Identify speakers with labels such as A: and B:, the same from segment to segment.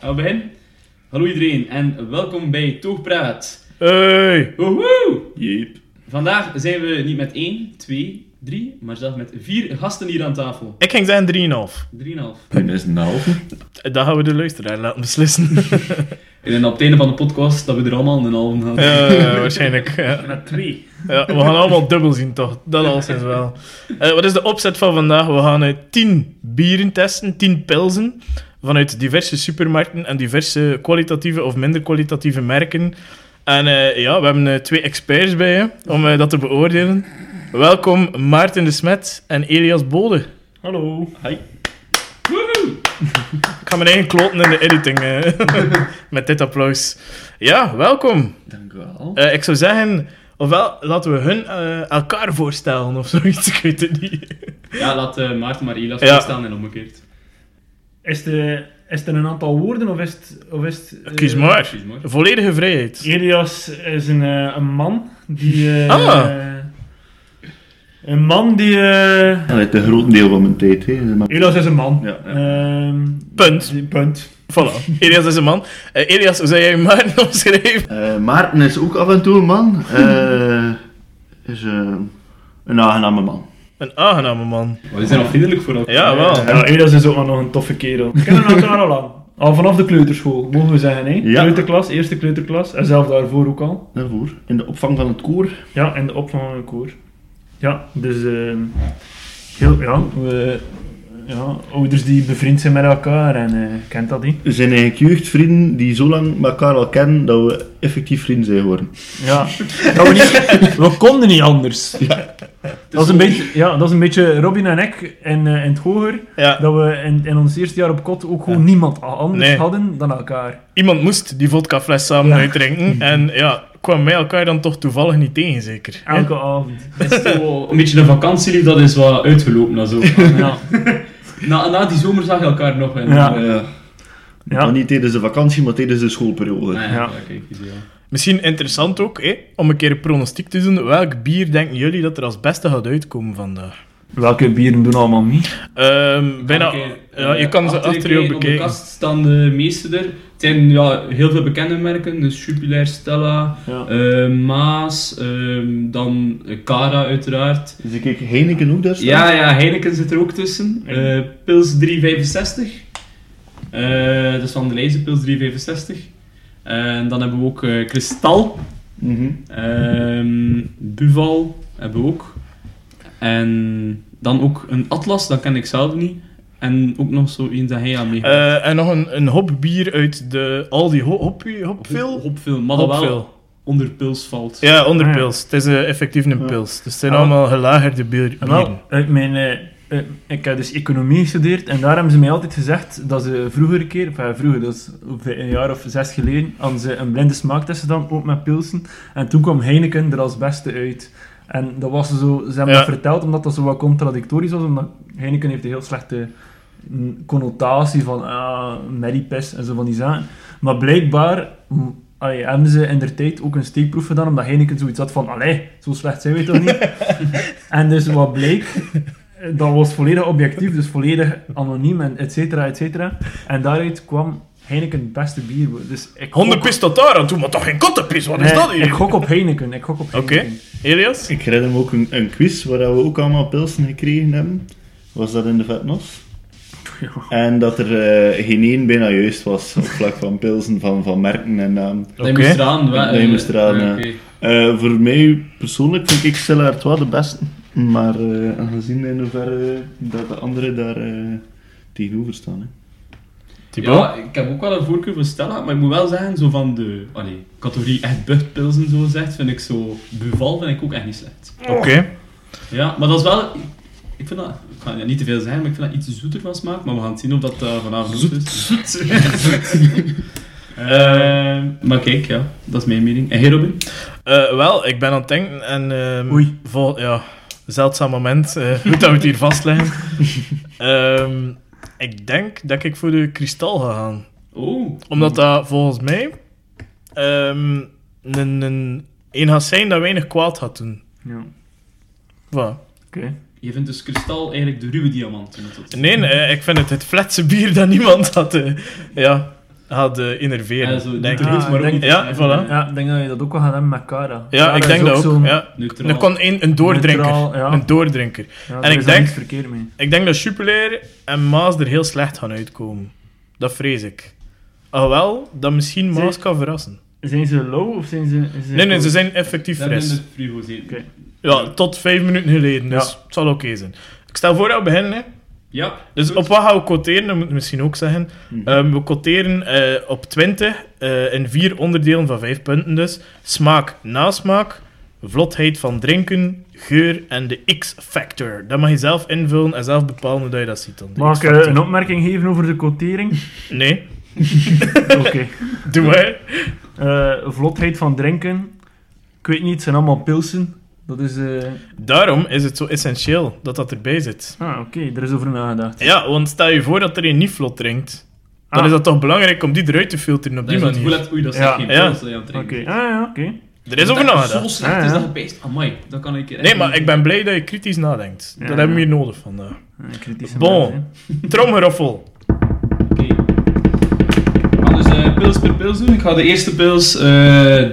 A: gaan we beginnen? Hallo iedereen en welkom bij Toogpraat.
B: Hey!
A: Woehoe!
B: Jeep.
A: Vandaag zijn we niet met 1, 2, 3, maar zelfs met vier gasten hier aan tafel.
B: Ik ging zeggen 3,5.
A: 3,5.
C: En is nou.
B: Dat gaan we de luisteraar laten beslissen.
A: En dan op het einde van de podcast dat we er allemaal een halve hadden.
B: Eh, waarschijnlijk. ja.
D: Met twee.
B: Ja, we gaan allemaal dubbel zien, toch? Dat alles is wel. Eh, wat is de opzet van vandaag? We gaan eh, 10 bieren testen, 10 pilzen. Vanuit diverse supermarkten en diverse kwalitatieve of minder kwalitatieve merken. En eh, ja, we hebben eh, twee experts bij je om eh, dat te beoordelen. Welkom Maarten de Smet en Elias Bode.
D: Hallo.
A: Woehoe!
B: Ik ga mijn eigen kloten in de editing eh, met dit applaus. Ja, welkom.
C: Dank u wel.
B: Eh, ik zou zeggen, ofwel laten we hun eh, elkaar voorstellen of zoiets. Ik weet het niet.
A: Ja, laat eh, Maarten maar Elias
B: Ja.
A: staan en omgekeerd.
D: Is, de, is er een aantal woorden of is het... Of is het eh,
B: Kies maar.
A: Precies, mooi.
B: Volledige vrijheid.
D: Elias is een, eh, een man die... eh,
B: Ah.
D: Een man die... eh,
C: Dat is een groot deel van mijn tijd. Hè. Maar-
D: Elias is een man.
C: Ja, ja.
D: Ehm,
B: Punt.
D: die- punt.
B: Voilà. Elias is een man. Eh, Elias, hoe zou jij Maarten omschrijven?
C: Eh, Maarten is ook af en toe een man. Eh, is eh, een aangename man.
B: Een aangename man.
A: Maar die zijn al vriendelijk voor elkaar.
C: Ah,
B: Ja, wel.
D: Ja, Elias is ook maar nog een toffe kerel. We kennen elkaar al aan. Al vanaf de kleuterschool, mogen we zeggen. Hè?
C: Ja.
D: Kleuterklas, eerste kleuterklas. En zelf daarvoor ook al.
C: Daarvoor. In de opvang van het koor.
D: Ja, en de opvang van een koor. Ja, dus ehm, heel, ja, we, ja, ouders die bevriend zijn met elkaar en eh, kent dat niet.
C: Er zijn eigenlijk jeugdvrienden die zo lang elkaar al kennen dat we effectief vrienden zijn geworden.
D: Ja, dat we, niet, we konden niet anders. Dat is een beetje, ja, dat is een beetje Robin en ik in, eh, in het hoger,
B: Ja,
D: dat we in, in ons eerste jaar op kot ook gewoon niemand a- anders
B: Nee.
D: hadden dan elkaar.
B: iemand moest die vodkafles samen uitdrinken. En ja, kwamen wij elkaar dan toch toevallig niet tegen, zeker?
D: Elke avond.
A: Het is toch wel een beetje de vakantielief, dat is wat uitgelopen. en Zo.
D: Ja.
A: Na, na die zomer zag je elkaar nog. En,
D: Ja.
A: eh,
C: Ja. Maar
D: Ja.
C: niet tijdens de vakantie, maar tijdens de schoolperiode.
A: nou ja,
D: Ja.
A: kijk, ideaal.
B: Misschien interessant ook, hè, om een keer een pronostiek te doen. Welk bier denken jullie dat er als beste gaat uitkomen vandaag?
D: Welke bieren doen allemaal niet?
B: Ehm, bijna,
A: Oké,
B: ja,
A: eh,
B: je kan ze
A: achter
B: achter je ook
A: kijken, Op de
B: bekijken.
A: kast staan de meeste er. Het zijn ja, heel veel bekende merken, dus Jupiler, Stella,
D: Ja.
A: eh, Maas, ehm, dan eh, Cara uiteraard.
C: Dus ik kijk Heineken ook daar staan.
A: Ja, ja, Heineken zit er ook tussen. Eh, Pils 365. Eh, dat is van de lijst, Pils 365. En dan hebben we ook eh Kristal,
C: Mhm.
A: ehm, Buval hebben we ook. En dan ook een Atlas, dat ken ik zelf niet. En ook nog zo één dat hij aan mee.
B: Eh, en nog een, een hopbier uit de Aldi Ho- hop, Hopville?
A: Hopveel, maar dat wel
B: Hopville.
A: onder pils valt.
B: Ja, onder
D: Ah, ja.
B: pils. Het is eh, effectief een pils. Dus het zijn
D: Ah, wel.
B: allemaal gelagerde bier-
D: En wel,
B: bieren.
D: uit mijn, Nou, eh, eh, ik heb dus economie gestudeerd en daar hebben ze mij altijd gezegd dat ze vroeger een keer, of ja, vroeger, dat is ongeveer een jaar of zes geleden, hadden ze een blinde smaak dan ook met pilsen. En toen kwam Heineken er als beste uit. En dat was zo, ze hebben
B: Ja.
D: dat verteld omdat dat zo wat contradictorisch was, omdat Heineken heeft een heel slechte mm, connotatie van ah, merriepis en zo van die zaken. Maar blijkbaar mm, allee, hebben ze in der tijd ook een steekproef gedaan, omdat Heineken zoiets had van, allee, zo slecht zijn we toch niet? en dus wat bleek, eh, dat was volledig objectief, dus volledig anoniem en et cetera, et cetera. En daaruit kwam Heineken het beste bier. Dus ik gok-
B: Hondenpis tot daar aan toe, maar toch geen kattenpis. Wat is
D: Nee,
B: dat hier?
D: Ik gok op Heineken, ik gok op
B: Oké.
D: Heineken.
B: Elias?
C: Ik red hem ook een, een quiz waar we ook allemaal pilsen gekregen hebben. Was dat in de Vetnos?
D: Ja.
C: En dat er eh, geen één bijna juist was op vlak van pilsen, van, van merken en namen.
A: Dat je
B: Oké.
A: moest eraan. wa-
C: Dat je
A: eh,
C: moest eraan,
A: eh,
C: ja.
A: oké.
C: Eh, voor mij persoonlijk vind ik Stella Artois de beste. Maar eh, aangezien in hoeverre eh, dat de anderen daar eh, tegenover staan. Hè.
B: Thibaut?
A: Ja, ik heb ook wel een voorkeur voor Stella, maar ik moet wel zeggen, zo van de allee, categorie echt buchtpils en zo zegt, vind ik zo Buval vind ik ook echt niet slecht.
B: Oké.
A: Ja, maar dat is wel... Ik vind dat... Ik ga niet te veel zeggen, maar ik vind dat iets zoeter van smaak, maar we gaan zien of dat eh, vanavond zoet is. Eh, maar kijk, ja, dat is mijn mening. En jij, Robin?
B: Eh, wel, ik ben aan het denken en... ehm,
D: Oei.
B: Vol, ja, zeldzaam moment. eh, goed dat we het hier vastleggen. Ehm, ik denk dat ik voor de kristal ga gaan.
A: Oh.
B: Omdat dat volgens mij ehm, een, een, een gaat zijn dat weinig kwaad gaat doen.
D: Ja,
B: Voilà.
D: oké.
A: Je vindt dus kristal eigenlijk de ruwe diamant. omdat het-
B: Nee, nee, ik vind het het flatse bier dat niemand had, eh, ja, had eh, innerveren.
A: Ja, zo, niet
B: denk
A: te
B: ik.
A: goed,
D: Ah,
A: maar ook
D: denk-
A: niet te
B: ja,
A: slecht.
B: voilà.
D: Ja, ik denk dat je dat ook wel gaat hebben met Cara.
B: Ja, ik denk dat ook. Ja.
A: Neutraal.
B: Er kon een, een doordrinker.
D: Neutraal, ja.
B: Een doordrinker.
D: en ik denk... verkeerd mee.
B: Ik denk dat Superleer en Maas er heel slecht gaan uitkomen. Dat vrees ik. Alhoewel, dat misschien Maas
D: Ze-
B: kan verrassen.
D: Zijn ze low of zijn ze... zijn
B: Nee, nee, ze
D: goed?
B: zijn effectief
A: Dat in
B: fris.
A: de frigo zitten.
D: Oké.
B: Ja, tot vijf minuten geleden, dus
D: Ja.
B: het zal oké zijn. Ik stel voor dat we beginnen, hè.
A: Ja.
B: Dus
A: goed.
B: op wat gaan we quoteren, dat moet ik misschien ook zeggen.
D: Hmm.
B: Ehm, we quoteren eh, op 20 eh, in vier onderdelen van vijf punten dus. Smaak, nasmaak, vlotheid van drinken, geur en de X-factor. Dat mag je zelf invullen en zelf bepalen hoe dat je dat ziet dan. De
D: Mag ik eh,
B: X-factor.
D: een opmerking geven over de quotering?
B: Nee,
D: Oké.
B: doe maar.
D: Eh, vlotheid van drinken. Ik weet niet, het zijn allemaal pilsen. Dat is... eh,
B: Daarom is het zo essentieel dat dat erbij zit.
D: Ah, oké, er is over nagedacht.
B: Ja, want stel je voor dat er een niet vlot drinkt. Dan
D: Ah.
B: is dat toch belangrijk om die eruit te filteren op
A: Dat
B: die
A: is het gevoel
B: manier.
A: dat- oei, dat is
D: Ja,
A: geen
B: ja.
A: pils dat je aan het
D: Oké,
A: drinken bent.
D: ah ja, oké.
B: Er is over
A: Dat het Zo
B: nagedacht.
A: slecht
D: Ja,
A: is
D: ja.
A: dat je peest. Amai, dan kan ik...
B: Nee, maar ik ben blij dat je kritisch nadenkt.
D: Ja.
B: Dat hebben we hier nodig vandaag.
D: Eh, kritische
B: Bon.
D: mensen, hè.
B: Tromgeroffel.
A: Oké. We gaan dus eh, pils per pils doen. Ik ga de eerste pils eh,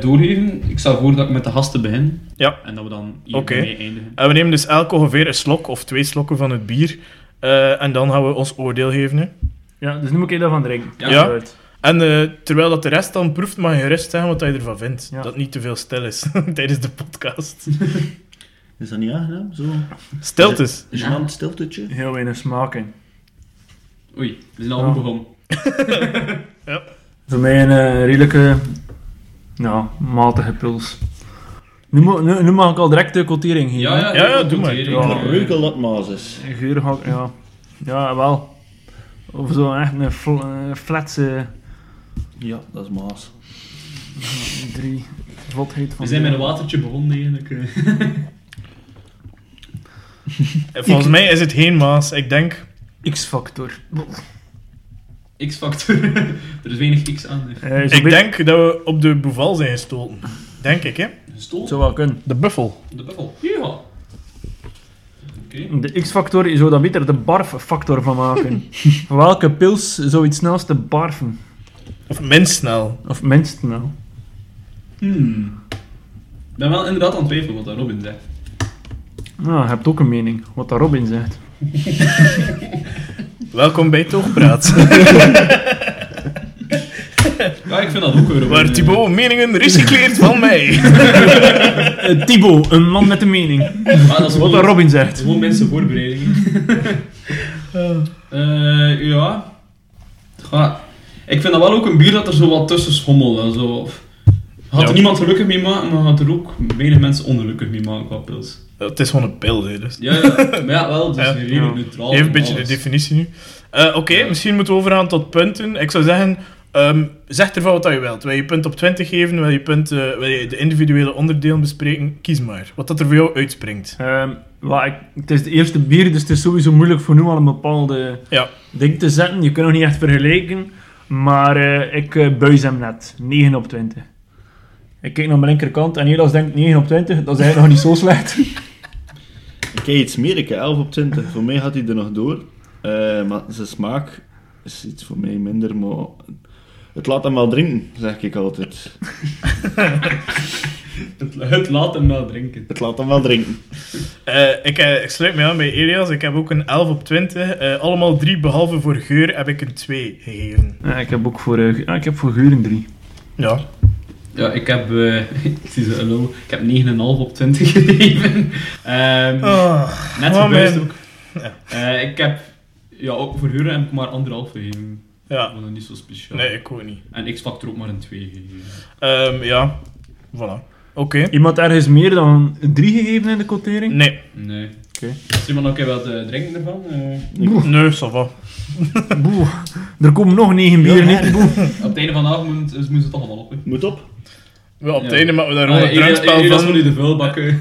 A: doorgeven. Ik stel voor dat ik met de gasten begin.
B: Ja.
A: En dat we dan
B: Oké.
A: hiermee eindigen.
B: En we nemen dus elk ongeveer een slok of twee slokken van het bier. Eh, en dan gaan we ons oordeel geven. Hè.
D: Ja, dus nu moet ik daarvan drinken.
A: Ja.
B: Ja.
D: Uit.
B: En eh, terwijl dat de rest dan proeft, mag je gerust zeggen wat je ervan vindt.
D: Ja.
B: Dat het niet te veel stil is tijdens de podcast.
C: Is dat niet aangenaam? Zo?
B: Stiltes.
C: Een gênant stiltetje?
D: Heel weinig smaken.
A: Oei, we zijn al
D: Ja.
A: goed begonnen.
D: Voor mij een eh, redelijke, ja, matige puls. Nu, mo- nu, nu mag ik al direct de quotering geven.
A: Ja, ja,
B: Ja, ja,
A: goed,
B: doe maar.
A: hier,
D: Ja.
A: eh,
C: Ik ruik al dat maas is.
D: hè. Geur ga ik- ja. Ja, wel. Of zo echt een fl eh, flatse
C: Ja, dat is maas.
D: drie vlotheid van...
A: We zijn met een watertje begonnen eigenlijk. eh.
B: En Volgens mij is het geen maas. Ik denk...
D: X-factor.
A: X-factor. er is weinig X aan. eh.
D: Eh, zo
B: Ik
D: be-
B: denk dat we op de boeval zijn gestoten. Denk ik, hè?
A: Gestold.
D: Zou wel kunnen.
B: De buffel.
A: De buffel. Ja. Oké.
D: De X-factor, je zou dan beter de barf-factor van maken. Van Welke pils zou iets snelste barfen?
B: Of minst snel.
D: Of minst nou.
A: Hmm. Ik ben wel inderdaad aan het twijfelen wat dat Robin zegt.
D: Nou, je hebt ook een mening, wat daar Robin zegt.
B: Welkom bij Toogpraat.
A: Ja, ik vind dat ook wel Robin.
B: waar
A: eh,
B: Thibaut meningen recycleert van mij.
D: Eh Thibaut, een man met een mening.
A: maar dat is
D: Wat
A: gewoon-
D: daar Robin zegt.
A: Gewoon mensen voorbereidingen. Eh, ja. Het gaat. Ik vind dat wel ook een bier dat er zo wat tussen schommelt. Zo. Had er
B: Ja.
A: niemand gelukkig mee maken, maar had er ook weinig mensen ongelukkig mee maken qua pils.
B: het is gewoon een pil, hè, dus.
A: Ja, ja. maar ja, wel, dus
B: Ja.
A: redelijk
D: Ja.
A: neutraal.
B: Even
A: en
B: een beetje de
A: alles.
B: definitie nu. Eh, Oké, misschien moeten we overgaan tot punten. Ik zou zeggen, ehm, zeg ervan wat je wilt. Wil je punt op 20 geven? Wil je, punt, eh, wil je de individuele onderdelen bespreken? Kies maar. Wat dat er voor jou uitspringt.
D: Ehm, wel, ik- het is de eerste bier, dus het is sowieso moeilijk voor nu al een bepaalde
B: Ja.
D: ding te zetten. Je kunt nog niet echt vergelijken. Maar eh, ik eh, buis hem net. 9 op 20. Ik kijk naar mijn linkerkant en Elas denkt 9 op 20. Dat is eigenlijk nog niet zo slecht.
C: Oké, iets meer. Ik heb 11 op 20. voor mij gaat hij er nog door. Eh, maar zijn smaak is iets voor mij minder, maar... Het laat hem wel drinken, zeg ik altijd.
A: Het, het laat hem wel drinken.
C: Het laat hem wel drinken.
B: Eh, ik, eh, ik sluit me aan bij Elias. Ik heb ook een 11 op 20. Eh, allemaal drie, behalve voor geur, heb ik een 2 gegeven.
D: Ja, ik heb ook voor, eh, ge- ah, ik heb voor Geuren 3.
B: Ja.
A: Ja, ik heb... eh, ik zie ze, hallo. Ik heb 9,5 op 20 gegeven. Ehm, net
B: oh,
A: gebuist
B: man.
A: ook. Eh, ik heb... Ja, ook voor huren heb ik maar anderhalf gegeven.
B: Ja.
A: Dat was niet zo speciaal.
B: Nee, ik ook niet.
A: En X-Factor ook maar een 2 gegeven.
B: Ehm, ja. Voilà. Oké.
D: Iemand ergens meer dan 3 gegeven in de quotering?
B: Nee.
A: Nee.
D: Oké.
A: Is er iemand ook wat eh, drinken ervan? Eh,
B: Nee, ça va.
D: Boe, er komen nog 9 bieren
C: Ja,
D: in. Boe.
A: op het einde van de avond moet, dus moet het toch allemaal op. hè.
C: Moet op.
B: Ja, op het
A: Ja.
B: einde maken we daar gewoon
A: Ah,
B: een
A: Elias-
B: drankspel
A: Elias
B: van.
A: moet nu de vuilbak. eh.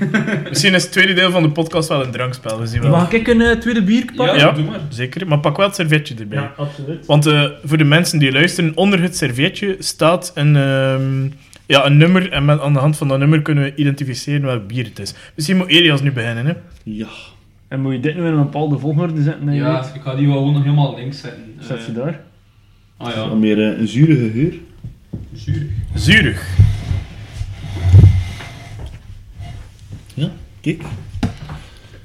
B: Misschien is het tweede deel van de podcast wel een drankspel. We zien wel.
D: Mag ik een eh, tweede bier
A: Ja,
D: pakken?
B: Ja.
A: doe maar.
B: Zeker, maar pak wel het servetje erbij.
D: absoluut.
B: Want eh, voor de mensen die luisteren, onder het servetje staat een, ehm, ja, een nummer. En met, aan de hand van dat nummer kunnen we identificeren welk bier het is. Misschien moet Elias nu beginnen. Hè?
C: Ja.
D: En moet je dit nu in een bepaalde volgorde zetten? dat je
A: Ja,
D: weet?
A: ik ga die wel gewoon nog helemaal links zetten.
D: Zet ze
A: Eh,
D: daar.
A: Ah
C: Wat
A: ja,
C: meer eh, een zurige geur.
A: zuurig.
B: Zuurig.
C: Kijk,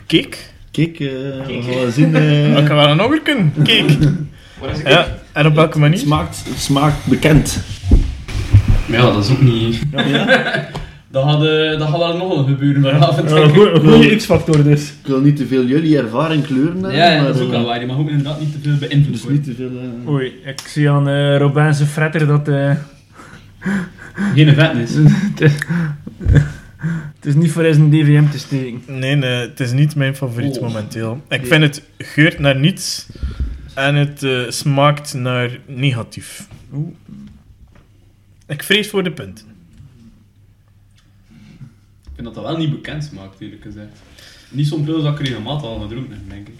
B: Kik.
C: kijk, eh, we gaan wel zien. eh,
B: Ik kan wel een oggerken. Kik.
A: Waar is ik? Ja.
B: Ja, en op welke
C: het,
B: manier?
C: smaakt, het smaakt bekend.
A: Maar ja, dat is ook niet...
C: Ja.
A: Dat gaat, eh, dat gaat wel nog wel gebeuren vanavond, denk
D: Eh, een
A: ik.
D: goede X-factor dus.
C: Ik wil niet te veel jullie ervaring kleuren. hebben,
A: Ja, ja, dat is
C: maar,
A: ook
C: eh,
A: wel waar. Je mag ook inderdaad niet te veel beïnvloed
C: Dus
A: worden.
C: niet te veel. eh,
D: Oei, ik zie aan eh Robijn zijn fretter dat eh,
A: Geen vetnis.
D: het is niet voor eens een DVM te steken.
B: Nee, nee, het is niet mijn favoriet
A: Oh.
B: momenteel. Ik
A: Nee.
B: vind het geurt naar niets en het eh, smaakt naar negatief.
D: Oeh.
B: Ik vrees voor de punten.
A: Ik vind dat dat wel niet bekend smaakt, eerlijk gezegd. Niet zo'n pils dat ik regelmatig al gedronken heb, denk ik.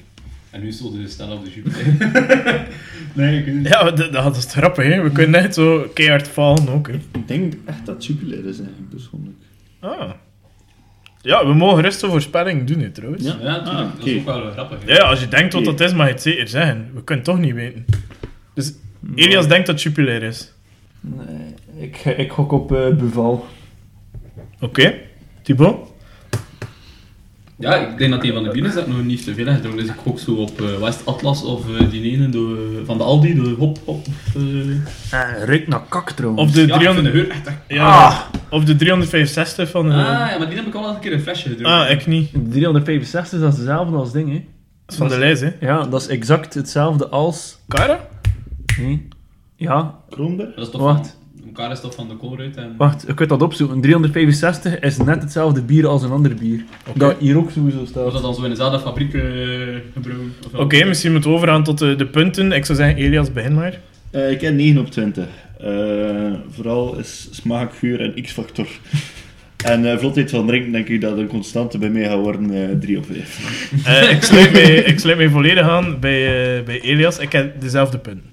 A: En nu stond de stel op de Jupiter. nee, ik weet niet.
B: Ja, dat, dat- dat is grappig, hè? We kunnen net zo keihard falen ook. Hè?
C: Ik denk echt dat het jubilair is eigenlijk persoonlijk.
B: Ah. Ja, we mogen rustig een voorspelling doen, hè, trouwens. Ja.
A: Ja, tuurlijk.
C: Ah,
A: dat is
C: oké.
A: ook wel grappig. hè.
B: Ja, als je denkt wat dat is, mag je het zeker zeggen. We kunnen het toch niet weten. Dus Elias denkt dat het Jupiler is.
D: Nee, ik, ik gok op eh, Buval.
B: Oké, Thibaut?
A: Ja, ik denk dat die van de bier is dat ik nog niet te veel heb gedronken. Dus ik gok zo op eh West Atlas of eh, die ene door, van de Aldi, de Hop Hop. Of, eh,
D: Eh ruikt naar kak trouwens.
B: Of de,
A: ja, ik vind de
B: 300,
A: geur echt... echt-
B: ja,
D: Ah.
B: of de 365 van...
A: Ah,
B: eh,
A: ja, maar die heb ik al een keer een flesje gedronken.
B: ah, ik niet.
D: 365 dat is hetzelfde als ding, hè?
B: Dat is van de lijst, hè?
D: Ja, dat is exact hetzelfde als.
B: Cara?
D: Nee. Ja,
C: Kronberg?
A: Dat is toch
D: Wacht.
A: van... Elkaar is toch van de Colruyt en...
D: wacht, je kunt dat opzoeken. 365 is net hetzelfde bier als een ander bier. Dat hier ook sowieso
A: Was
D: staat.
A: dat dan zo in dezelfde fabriek eh gebrouwen? Of wel?
B: Oké, misschien moeten we overgaan tot eh, de, de punten. Ik zou zeggen, Elias, begin maar.
C: Eh, ik heb 9 op 20. Eh, vooral is smaak, geur en x-factor. en eh, vlotheid van drinken denk ik dat een constante bij mij gaat worden 3 op 5.
B: Eh, ik, sluit mij, ik sluit mij volledig aan bij, eh, bij Elias. Ik heb dezelfde punten.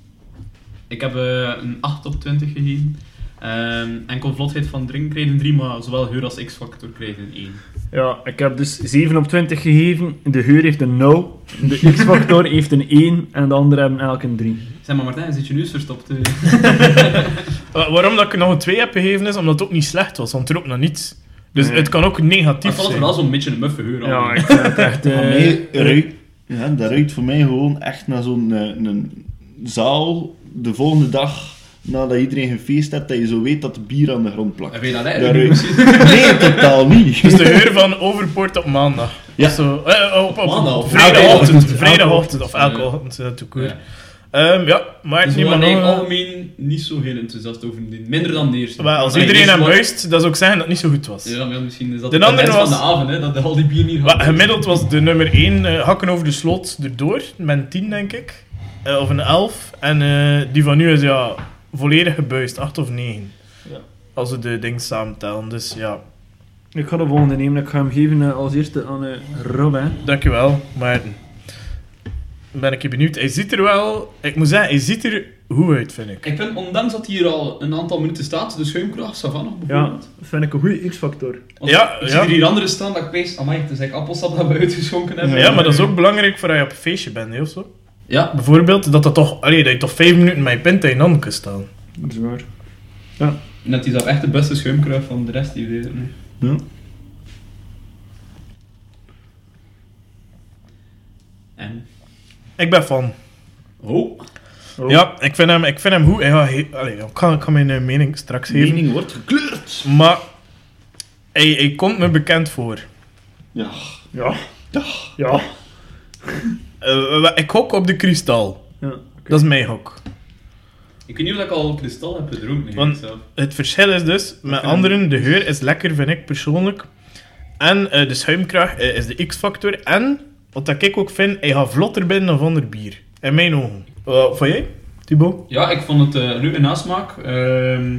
A: Ik heb eh, een 8 op 20 gegeven. Ehm enkel vlotheid van drinken kreeg een 3, maar zowel geur als x-factor kreeg een 1.
D: Ja, ik heb dus 7 op 20 gegeven. De geur heeft een 0. De X-factor heeft een 1. En de anderen hebben elk een 3.
A: Zeg maar Martijn, zit je neus verstopt? eh?
B: Wa- Eh, waarom dat ik er nog een 2 heb gegeven is, omdat het ook niet slecht was, want er ook nog niets. Dus
D: Nee.
B: het kan ook
A: Ik
B: negatief
A: vond het
B: zijn.
A: wel Ah, zo'n beetje een muffe geur.
D: Ja,
A: al.
D: ik vind het echt. eh,
C: Van mij ruikt, ja, dat ruikt voor mij gewoon echt naar zo'n eh, een zaal de volgende dag nadat iedereen gefeest hebt, dat je zo weet dat de bier aan de grond plakt.
A: Heb je dat
C: Dat
A: eigenlijk
C: ruikt-
A: niet gezien?
C: Nee, totaal niet.
B: Dus de geur van Overpoort op maandag.
C: Ja.
B: Of Zo, eh, op, op,
A: Maandag of
B: vrijdagochtend.
A: elke
B: Vrijdagochtend, of elke
A: Ja.
B: ochtend, eh, toekoor.
A: Ja.
B: Ehm, ja, maar
A: Dus
B: niet
A: we
B: maar
A: waren
B: nog...
A: eigenlijk
B: eh,
A: algemeen niet zo heel enthousiast over die. Minder dan de eerste.
B: wel, als
A: Maar
B: iedereen
A: de
B: hem
A: eerste was-
B: buist, dat zou ook zeggen dat het niet zo goed was.
A: dus Ja, maar ja, misschien is dat
B: De
A: de,
B: andere
A: andere
B: was-
A: van de avond, hè, dat de, al die bier niet
B: Wat,
A: had.
B: gemiddeld was de nummer 1 hakken over de sloot erdoor, met een 10 denk ik. Eh, of een 11. En eh, die van nu is ja, volledig gebuist, 8 of 9.
A: Ja.
B: Als we de dingen samentellen. Dus ja,
D: Ik ga de volgende nemen. Ik ga hem geven eh, als eerste aan eh Robin.
B: dankjewel Maarten. Ben ik je benieuwd. Hij ziet er wel, ik moet zeggen, hij ziet er goed uit vind ik.
A: Ik vind, ondanks dat hier al een aantal minuten staat, de schuimkracht, Savannah
D: Ja,
A: bijvoorbeeld.
D: vind ik een goede X-factor.
A: Want
B: Ja,
A: ik
B: ja.
A: zie er hier anderen staan dat ik pees, amai, het is eigenlijk appelsap dat we uitgeschonken hebben.
B: Ja, maar dat is ook belangrijk voor als je op een feestje bent, hè, of zo.
A: Ja,
B: Bijvoorbeeld, dat, dat, toch, allee, dat je toch 5 minuten met je pint in je handen kunt staan.
D: Dat is waar.
A: Net die is echt de beste schuimkruif van de rest die we deden. nee.
C: Ja.
A: En?
B: Ik ben van.
A: Oh.
D: Oh.
B: Ja, ik vind hem, ik vind hem goed. Ja, he- allee, ik, kan, ik kan mijn eh, mening straks geven.
C: mening wordt gekleurd.
B: Maar hij, hij komt me bekend voor.
C: Ja.
D: Ja.
C: Dag.
D: Ja.
B: Eh, wa- ik hok op de kristal.
D: ja.
B: Dat is mijn hok.
A: Ik weet niet of ik al kristal heb gedronken.
B: Want-
A: Want... Zelf.
B: Het verschil is dus, met
A: hem-
B: anderen, de geur is lekker, vind ik persoonlijk. En eh, de schuimkracht eh, is de X-factor. En, wat dat ik ook vind, hij gaat vlotter binnen dan ander bier. In mijn ogen. Wat van jij, Thibaut?
A: Ja, ik vond het eh ruwe nasmaak. Ehm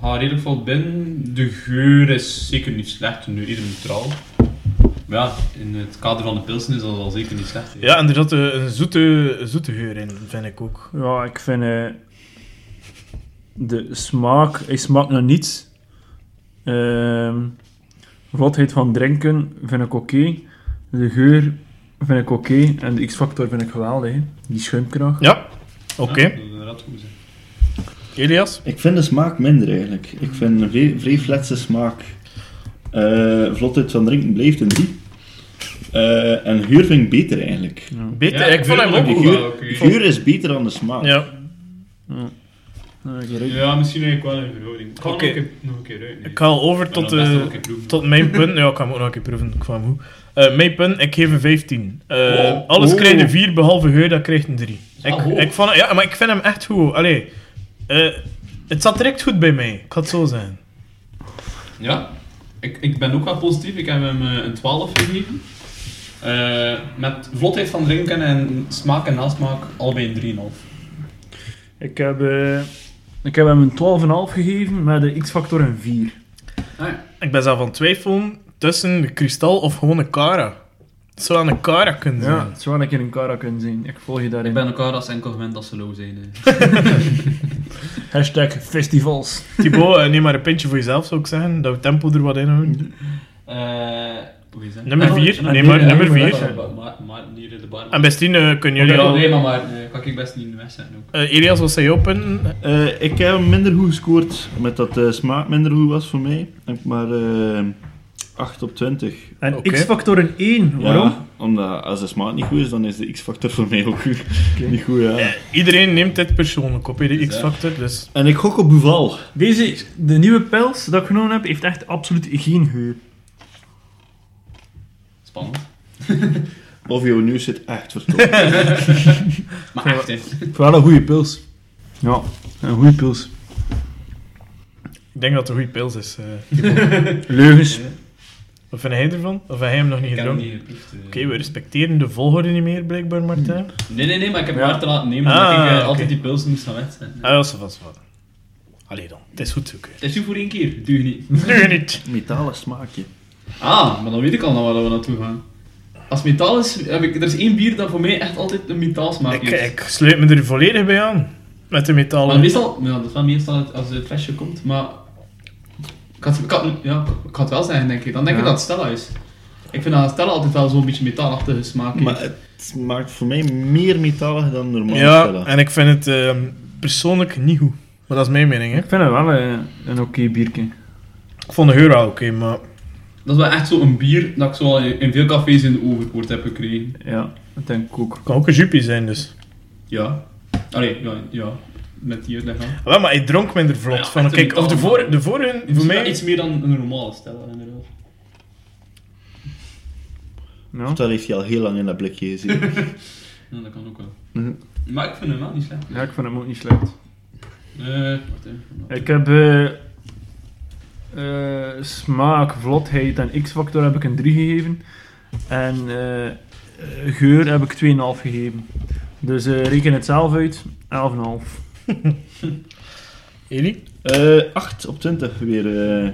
A: ga redelijk vlot binnen. De geur is zeker niet slecht, nu eerder neutraal. Maar ja, in het kader van de pilsen is dat al zeker niet slecht. hè.
B: Ja, en er zat eh, een zoete, een zoete geur in, vind ik ook.
D: Ja, ik vind eh, de smaak, hij smaakt naar niets. Ehm vlotheid van drinken vind ik oké. De geur vind ik oké. En de X-Factor vind ik geweldig. hè. Die schuimkraag.
B: Ja, oké.
A: Ja, dat zou inderdaad goed zijn.
B: Elias?
C: Ik vind de smaak minder eigenlijk. Ik vind een vrij, vrij fletse smaak. Eh vlotheid van drinken blijft een 3. Eh, en geur vind ik beter eigenlijk.
B: Beter.
A: Ja,
B: ik vond hem
A: tuurlijk,
B: ook
A: die
B: goed.
A: geur-
C: Geur, geur is beter dan de smaak.
B: Ja,
D: Ja, ik ruik-
A: Ja, misschien eigenlijk wel een verhouding. Ik ga
B: Oké.
A: hem nog een keer- nog een keer uit. nee.
B: ik ga al over
A: Maar
B: tot,
A: dan best wel
B: eh,
A: een keer proeven.
B: tot mijn punt. Ja, ik ga hem ook nog een keer proeven. Ik kwam hoe. Eh, mijn punt, ik geef een 15. Eh,
A: Wow.
B: Alles
C: Oh.
B: krijgt een 4, behalve geur, dat krijgt een 3.
A: wel
B: Ik,
A: hoog.
B: ik vond, ja, maar ik vind hem echt goed. Allee, eh, het zat direct goed bij mij. Ik had het zo zijn.
A: Ja, ik, ik ben ook wel positief. Ik heb hem eh, een 12 gegeven. Eh, met vlotheid van drinken en smaak en nasmaak allebei een 3,5.
D: Ik heb, eh, ik heb hem een 12,5 gegeven met de X-Factor een 4.
A: Ah, ja.
B: Ik ben zelf aan het twijfelen tussen de kristal of gewoon een Kara. Het zou aan een Kara kunnen zijn.
D: Ja, het zou wel een keer een Kara kunnen zijn. Ik volg je daarin.
A: Ik ben elkaar als enkel gewend dat ze low zijn. eh.
D: Hashtag festivals.
B: Thibaut, eh, neem maar een pintje voor jezelf, zou ik zeggen. Dat we tempo er wat in houden.
A: Eh, hoe is dat?
B: Nummer
A: Eh,
B: vier.
A: eh,
B: Nee, maar nummer
A: eh,
B: vier.
A: maar- maar- Maar hier in de bar.
B: En bestien eh, kunnen jullie
A: Oké,
B: al...
A: Nee, maar maar eh, kan ik best niet in de wedstrijd ook.
B: Eh, Elias, wat zei je open?
C: Eh, ik heb hem minder goed gescoord, met dat de smaak minder goed was voor mij. Heb ik maar eh 8 op 20.
D: En
B: Oké.
D: X-Factor een 1.
C: Ja,
D: Waarom?
C: omdat als de smaak niet goed is, dan is de X-factor voor mij ook goed.
D: Oké.
C: niet goed. Ja.
B: Eh, Iedereen neemt dit persoonlijk op, hè, de
A: Dus,
B: X-Factor. Dus
C: En ik gok op Buval.
D: Deze, de nieuwe pels dat ik genomen heb, heeft echt absoluut geen geur.
A: Spannend.
C: Of jouw nieuws zit echt verstopt.
A: Maar
D: Ja.
A: echt, hè.
D: Ik wel een goede pils. Ja, een goede pils.
B: ik denk dat het een goede pils is. eh.
D: Leugens.
B: wat vind jij ervan? Of heb jij hem nog niet
A: Ik heb hem
B: gedronken?
A: niet
B: Oké,
A: geproefd. eh.
B: we respecteren de volgorde niet meer, blijkbaar, Martijn.
A: Nee, nee, nee, maar ik heb
D: Ja.
A: hem hard te laten nemen. omdat
B: Ah,
A: ik eh,
B: oké.
A: altijd die pils moest gaan wedstrijden.
B: Ah, dat is er vast van. Allee dan, het is goed zoeken.
A: Het is u voor één keer, duur niet.
B: Nu niet!
C: Metalen smaakje.
A: Ah, maar dan weet ik al naar waar we naartoe gaan. Als metaal is, heb ik, er is één bier dat voor mij echt altijd een metaal smaak
B: Ik,
A: heeft.
B: ik sluit me er volledig bij aan. Met de
A: Maar
B: metalen.
A: meestal, ja, dat is wel meestal het- als het flesje komt, maar ik had, ik had- ja, ik had wel zeggen, denk ik. Dan denk ik
D: Ja.
A: dat het Stella is. Ik vind dat Stella altijd wel zo'n beetje metaalachtige smaak heeft.
C: Maar het maakt voor mij meer metalig dan normaal.
B: Ja,
C: Stella.
B: en ik vind het ehm, persoonlijk niet goed. Maar dat is mijn mening, hè.
D: Ik vind het wel eh, een oké biertje.
B: Ik vond de geur wel oké, maar...
A: Dat is wel echt zo'n bier dat ik zo al in, in veel cafés in de overpoort heb gekregen.
D: Ja, dat denk ik ook.
B: Het kan ook een jupie zijn, dus.
A: Ja. Allee, ja, ja. Met die uitleg aan.
B: Wel, maar ik dronk minder vlot.
A: Ja,
B: van,
A: echt een
B: kijk, of de,
A: metaal.
B: vor, de vorige,
A: Het
B: voor
A: is
B: mij...
A: wel iets meer dan een normale Stella, inderdaad.
D: Ja.
C: Dat heeft hij al heel lang in dat blikje gezien.
A: Ja, dat kan ook wel.
C: Mhm.
A: Maar ik vind hem wel niet slecht.
D: ja, ik vind hem ook niet slecht.
A: Eh, wacht even.
D: Ik heb eh, eh, smaak, vlotheid en X-factor heb ik een 3 gegeven. En eh, eh, geur heb ik 2,5 gegeven. Dus eh, reken het zelf uit, 11,5.
B: Eli?
C: Eh 8 op 20 weer. eh,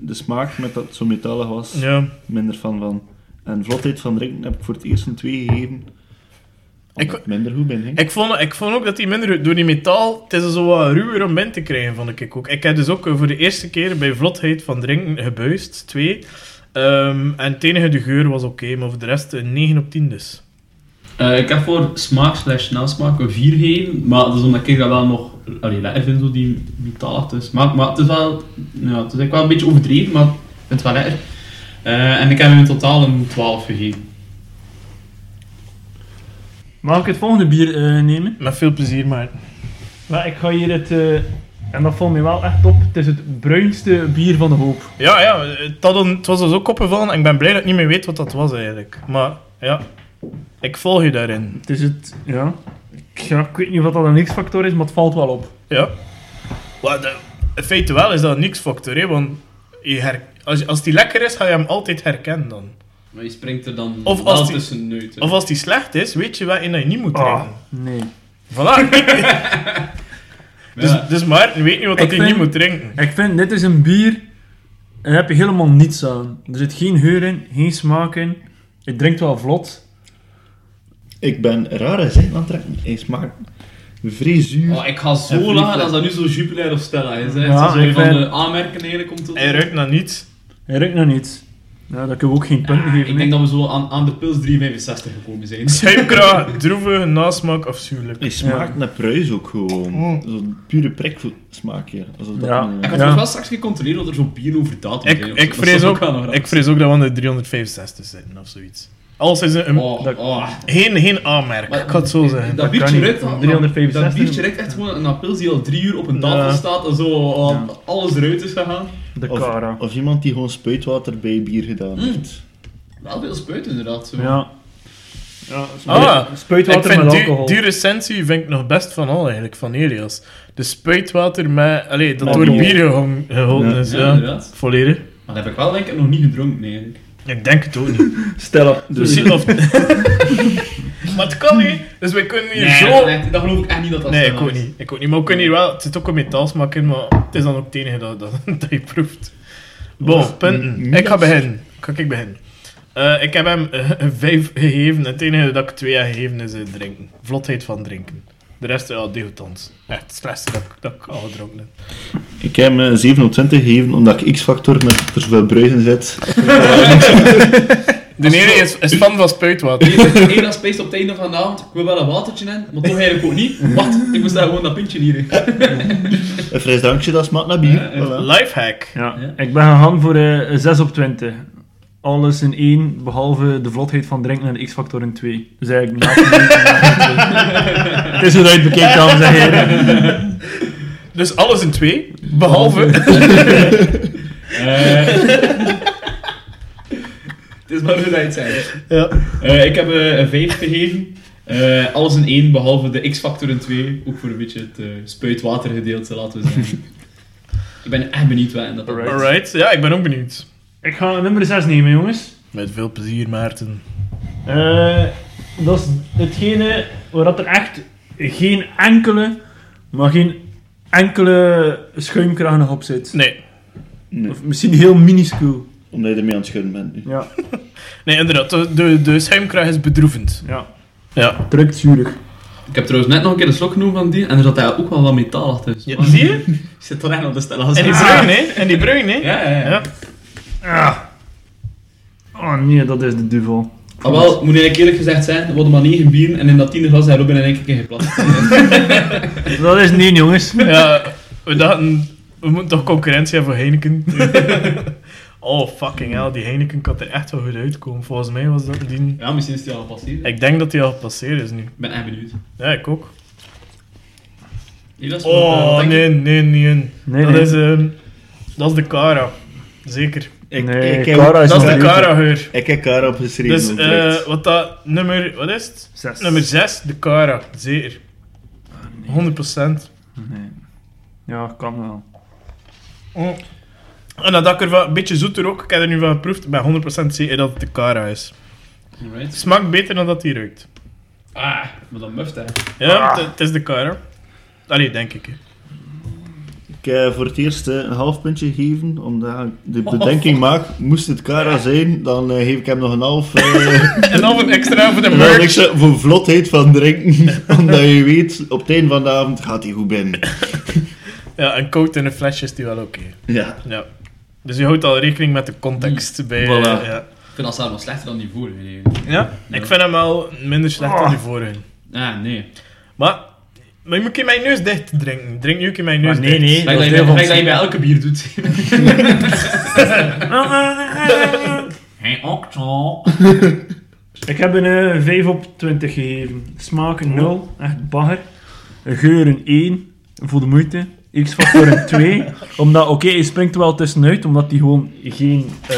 C: de smaak met dat het zo metalig was,
B: Ja.
C: minder van van. En vlotheid van drinken heb ik voor het eerst een 2 gegeven. Omdat
B: Ik-
C: ik minder goed ben, hè.
B: Ik vond, ik vond ook dat die minder... Door die metaal, het is zo wat ruwer om binnen te krijgen, vond ik ook. Ik heb dus ook eh, voor de eerste keer bij vlotheid van drinken gebuist. Twee. Ehm, en het enige, de geur was oké, maar voor de rest een 9 op 10 dus.
A: Eh, ik heb voor smaak slash nasmaak een 4 gegeven, maar dat is omdat ik dat wel nog allee, lekker vind, zo die metaalachtige smaak. Maar het is wel, ja, het is eigenlijk wel een beetje overdreven, maar ik vind het wel lekker. Eh, en ik heb hem in totaal een 12 gegeven.
D: Mag ik het volgende bier eh, nemen?
B: Met veel plezier, maar...
D: Maar ik ga hier het, eh, en dat valt me wel echt op, het is het bruinste bier van de hoop.
B: Ja, ja, het, had een- het was dus ook opgevallen en ik ben blij dat ik niet meer weet wat dat was eigenlijk. Maar, ja... Ik volg je daarin.
D: Het is het, ja. Ik, ja, ik weet niet of dat een X-factor is, maar het valt wel op.
B: Ja. Maar de, in feite wel is dat een niks-factor, hè, want je her, als, als die lekker is, ga je hem altijd herkennen dan.
A: Maar je springt er dan
B: Of
A: wel
B: als die-
A: tussenuit. hè.
B: Of als die slecht is, weet je wel in dat je niet moet drinken.
D: nee.
B: Voilà. dus,
A: Ja.
B: dus Maarten weet niet wat dat
D: Ik
B: hij
D: vind-
B: niet moet drinken.
D: Ik vind, dit is een bier, en heb je helemaal niets aan. Er zit geen geur in, geen smaak in. Het drinkt wel vlot.
C: Ik ben rare zin aan het trekken. Hij smaakt vrij
B: dus-
C: zuur.
A: Oh, ik ga
C: En
A: zo
C: vlieg-
A: laag als dat nu zo Jupiler of Stella is. Hè.
D: Ja,
A: Ja, zo
D: ik
A: van
D: ben-
A: de aanmerken eigenlijk komt tot...
B: Hij ruikt naar niets.
D: Hij ruikt nog niets. Ja, dat kunnen we ook geen punt geven.
A: Ah, Ik denk dat we zo aan, aan de pils 365 gekomen zijn.
B: Schuimkraag, droevige nasmaak afschuwelijk.
C: Die smaakt naar pruis ook gewoon.
B: Mm.
C: Zo'n pure priksmaak, ja. Alsof dat
D: Ja.
C: een,
A: Ik
C: eh,
A: had
D: Ja.
A: het wel straks gecontroleerd of er zo'n bier over datum
B: Ik,
A: zijn of
B: ik,
A: zo. Dat is
B: vrees ook,
A: wel nog
B: ik
A: raar.
B: vrees ook dat we aan de 365 zitten of zoiets. Alles is een, een-
A: Oh,
D: dat-
A: oh.
B: geen, geen aanmerk,
A: Maar-
B: ik ga het zo zeggen.
A: Dat
D: Dat
A: biertje
D: kan niet.
A: ruikt aan-
D: 365.
A: Dat biertje ruikt echt gewoon een pils die al drie uur op een tafel
B: Ja.
A: staat en zo al-
D: Ja.
A: alles eruit is gegaan.
D: De
C: Of-
D: Cara.
C: Of iemand die gewoon spuitwater bij bier
B: Mm.
C: gedaan heeft.
A: Wel veel spuit inderdaad. Zo.
D: Ja.
B: Ah, ik
D: Spuitwater
B: vind
D: met
B: die,
D: alcohol.
B: die recensie vind ik nog best van al eigenlijk, van Elias. De spuitwater met, allee, dat
C: Met
B: door
C: bier.
B: bier gehong- geholpen
C: Ja.
B: is,
A: Ja,
B: ja.
A: inderdaad.
B: Volledig.
A: Maar dat heb ik wel denk ik nog niet gedronken eigenlijk.
B: Ik denk het ook niet.
C: Stel op.
A: Dus-
B: Misschien of... maar het kan niet, dus we kunnen hier zo...
A: dat, echt- dat geloof ik echt niet dat dat
B: Nee,
A: zo
B: ik ook
A: is.
B: niet. Ik ook niet. Maar we kunnen hier wel... Het zit ook een metaalsmaak in, maar het is dan ook het enige dat, dat, dat je proeft. Bon,
C: Of-
B: punten.
C: Mm,
B: Ik ga
C: yes.
B: beginnen. Kan ik beginnen? Eh, ik heb hem eh, een 5 gegeven. Het enige dat ik 2 heb gegeven is eh, drinken. Vlotheid van drinken. De rest, ja, degoutant. Echt het slechtste dat, ik- dat ik al gedronken heb.
C: Ik heb hem eh, 27 gegeven omdat ik X-factor met er zoveel bruis in zit.
B: De ene is, is fan van spuitwater.
A: Eén dat space op het einde van de avond, ik wil wel een watertje in, maar toch eigenlijk ook niet. Wacht, ik moest daar gewoon dat pintje hier. in.
C: Een fris drankje, dat smaakt naar bier.
A: Ja,
C: Voilà.
B: Lifehack.
D: Ja.
A: Ja.
D: Ik ben gegaan voor eh 6 op 20. Alles in 1, behalve de vlotheid van drinken en de X-factor in 2. Dus eigenlijk na Het is hoe dat je het bekijkt, dames en heren.
B: Dus alles in twee, behalve...
A: Eh, Het is maar hoe dat je het zegt.
B: Ja.
A: Eh, ik heb eh, een 5 gegeven. Eh, alles in één, behalve de X-factor in 2. Ook voor een beetje het eh, spuitwatergedeelte, laten we zeggen. ik ben echt benieuwd wat in dat
D: Alright.
B: Alright, ja, ik ben ook benieuwd.
D: Ik ga nummer 6 nemen, jongens.
B: Met veel plezier, Maarten.
D: Eh, dat is hetgene waar dat er echt geen enkele, maar geen enkele schuimkraag nog op zit.
B: Nee,
C: Nee,
D: Of misschien heel minuscuul.
C: omdat je ermee aan het schudden bent nu.
D: Ja,
B: nee inderdaad. De, de, de schuimkraag is bedroevend.
D: ja.
B: Ja.
D: Het ruikt zuurig.
A: Ik heb trouwens net nog een keer een slok genomen van die, en er zat daar ook wel wat metaal achter. Dus
B: Ja,
A: man,
B: zie je?
A: Ik zit toch echt op de stella.
B: En die
A: ja,
B: bruin, hè? En die bruin, hè?
A: ja, ja.
B: Ja.
D: Ah. Oh nee, dat is de duvel.
A: Ah, wel, moet ik eerlijk gezegd zijn, er worden maar 9 bieren, en in dat tiende glas zijn Robin en ik een keer geplast.
D: Dat is niet, jongens.
B: Ja, we dachten, we moeten toch concurrentie hebben voor Heineken. oh, fucking hell, die Heineken kan er echt wel goed uitkomen. Volgens mij was dat die...
A: Ja, misschien is die al gepasseerd. Ik
B: Ik denk dat die al gepasseerd is nu.
A: ben echt benieuwd.
B: Ja, ik ook.
A: Elias, wat,
B: Oh,
A: eh, denk je?
B: nee, nee, nee.
D: Nee,
B: dat,
D: nee.
B: Is, ehm, dat is de Cara. Zeker.
C: Ik,
D: Nee,
C: ik, heb,
D: Cara is
B: Dat is de
D: nog-
B: Cara-geur.
C: ik heb Cara opgeschreven.
B: Dus
C: oprecht.
B: eh, wat dat nummer... Wat is het?
D: Zes.
B: Nummer 6, de Cara. Zeker. 100%.
D: Nee. Ja, kan wel.
B: Mm. En dat ik er wel, een beetje zoeter ook, ik heb er nu van geproefd, ik ben 100% zeker dat het de Cara is. Het
A: Alright.
B: smaakt beter dan dat die ruikt.
A: Ah, maar dat muft, hè.
B: Ja,
D: Ah.
B: het- het is de Cara. Allee, denk ik. hè.
C: Ik heb voor het eerst eh, een half puntje gegeven, omdat ik de bedenking maak, moest het Cara zijn, dan eh, geef ik hem nog een half. eh,
B: En dan een extra voor de
C: en dan ik
B: merch.
C: ze voor vlotheid van drinken, omdat je weet, op het einde van de avond gaat hij goed binnen.
B: Ja, en koud in een flesje is die wel oké.
C: Ja.
B: Ja. Dus je houdt al rekening met de context bij... eh,
C: Voilà.
B: ja.
A: Ik vind dat zelf wel slechter dan die vorige. eigenlijk.
B: Ja? Ik vind hem wel minder slecht dan die vorige.
A: Ah, nee.
B: Maar, maar je moet een keer mijn neus dicht drinken. Drink nu een keer mijn neus
D: Maar nee,
B: dicht.
D: nee.
A: Gelijk dat,
D: is
A: je-
D: heel
A: gelijk
D: van-
A: dat je bij elke bier doet. Geen octal.
D: Ik heb een eh, 5 op 20 gegeven. Smaken 0, echt bagger. Geuren 1, voor de moeite. X-factor een 2, omdat, oké, hij springt er wel tussenuit, omdat hij gewoon geen eh,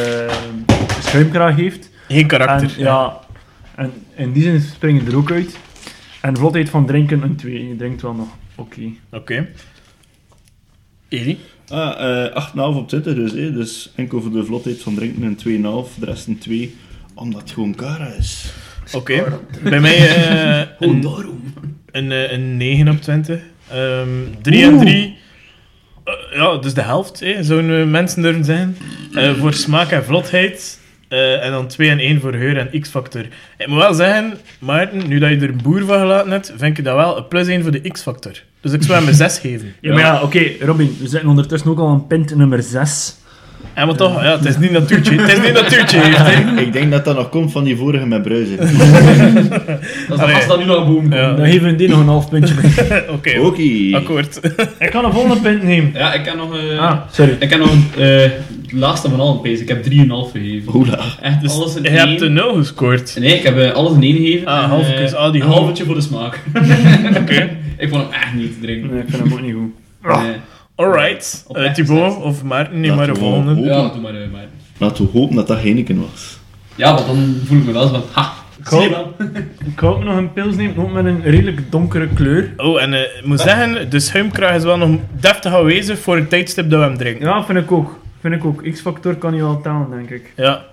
D: schuimkraag heeft.
B: Geen karakter.
D: En, ja, en in die zin springen er ook uit. En vlotheid van drinken een 2, je denkt wel nog, oké.
B: Oké. Edi?
C: Ah, eh 8,5 op 20 dus, hè. dus enkel voor de vlotheid van drinken een 2,5, de rest een 2, omdat het gewoon Cara is.
B: Oké. Bij mij... eh,
A: Gewoon
B: een-
A: daarom.
B: Een, eh, een 9 op 20. Ehm 3 en 3. Eh, ja, dus de helft, hè, zo'n eh, mensen durven zijn. Eh, voor smaak en vlotheid. Eh, en dan 2 en 1 voor geur en X-factor. Ik moet wel zeggen, Maarten, nu dat je er een boer van gelaten hebt, vind ik dat wel een plus 1 voor de X-factor. Dus ik zou hem een 6 geven.
D: Ja, maar ja, oké, Robin, we zitten ondertussen ook al aan pint nummer 6.
B: Ja, maar toch, ja, het is niet natuurtje. Het is niet natuurtje. heeft, hè.
C: Ik denk dat dat nog komt van die vorige met bruisen.
A: Dat is de
B: Allee.
A: gast dat nu naar boven komt.
B: Ja.
D: Dan geven we die nog een half puntje mee.
B: Oké,
C: Oké.
B: akkoord.
D: Ik kan een volgende punt nemen.
A: Ja, ik heb nog... eh,
D: Ah, sorry.
A: Ik heb nog een, eh, het laatste van allen, Pees. Ik heb 3,5 gegeven.
C: Hoela.
A: Echt
B: Dus
A: alles in
B: je
A: één.
B: hebt de 0 gescoord.
A: Nee, ik heb eh, alles in één gegeven.
B: Ah,
A: en,
B: halve
A: eh,
B: kus. Ah, die
A: een
B: halve.
A: halvetje voor de smaak. ik vond hem echt niet te drinken.
D: Nee, ik vind hem ook niet goed.
A: Nee.
B: Alright.
A: Op
B: Eh
A: echt
B: Thibaut
A: gezet.
B: of Maarten, neem
C: Dat
B: maar de
C: wel.
B: volgende.
A: Ja, doe maar, eh, maar.
C: Laten we hopen dat dat Heineken was.
A: Ja, want dan voel ik me wel eens van, ha, zie je wel.
D: Ik ga ook nog een pils nemen, ook met een redelijk donkere kleur.
B: Oh, en eh, ik moet zeggen, de schuimkraag is wel nog deftig aanwezig voor het tijdstip dat we hem drinken.
D: Ja, vind ik ook. Vind ik ook. X-factor kan je wel tellen, denk ik.
B: Ja.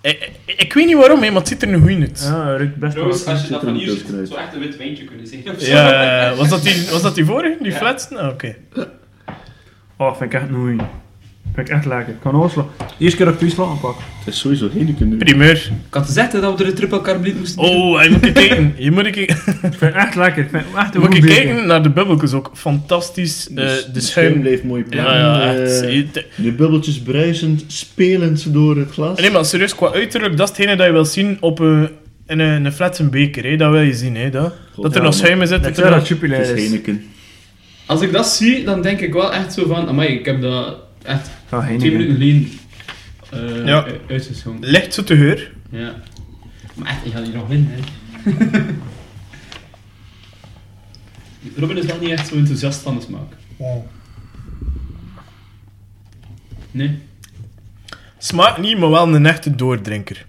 B: Ik, ik, ik weet niet waarom, hè, maar het ziet er nu goed uit.
D: Ja, dat ruikt best wel.
A: Trouwens, als je dat
C: zit er
A: van
C: een
A: hier
C: kus
A: ziet,
C: kruid.
A: zou echt een wit wijntje kunnen zijn. of zo.
B: Ja, eh, was, dat die, was dat die vorige, die flatste? Ah, Oké.
D: Oh, vind ik echt een goeie. Vind ik echt lekker. Ik kan overslaan. Eerst keer dat ik puist laten pakken.
C: Het is sowieso Heineken nu.
B: Primeur.
A: Ik had gezegd hè, dat we er een triple carbliet moesten doen.
B: Oh, hij moet je kijken. Je moet, je kijken.
D: Ik vind het echt lekker. Ik vind het echt een
B: moet
D: goed
B: je
D: biertje.
B: kijken naar de bubbeltjes ook. Fantastisch. eh,
C: Dus
B: de schuim.
C: blijft mooi plakken.
B: Ja, ja, echt.
C: eh,
B: Het-
C: de bubbeltjes bruisend, spelend door het glas.
B: Nee, maar serieus, qua uiterlijk, dat is hetgene dat je wil zien op een, in een, een flatse beker. Hè. Dat wil je zien, hè. Dat,
C: God,
B: dat er
C: ja,
B: nog
C: man.
B: schuim in zit.
D: Dat
B: Dat
D: zou
B: er
D: dat
B: nog...
D: jupiler
C: Het is
D: is.
C: Heineken.
A: Als ik dat zie, dan denk ik wel echt zo van, amai, ik heb dat echt
D: Ah,
A: twee minuten
D: Heineken.
A: geleden eh
B: Ja.
A: u- uitgeschonken.
B: Licht zoete geur.
A: Ja. Maar echt, ik ga die nog winnen, hè. Robin is wel niet echt zo enthousiast van de smaak. Nee.
B: Smaakt niet, maar wel een echte doordrinker.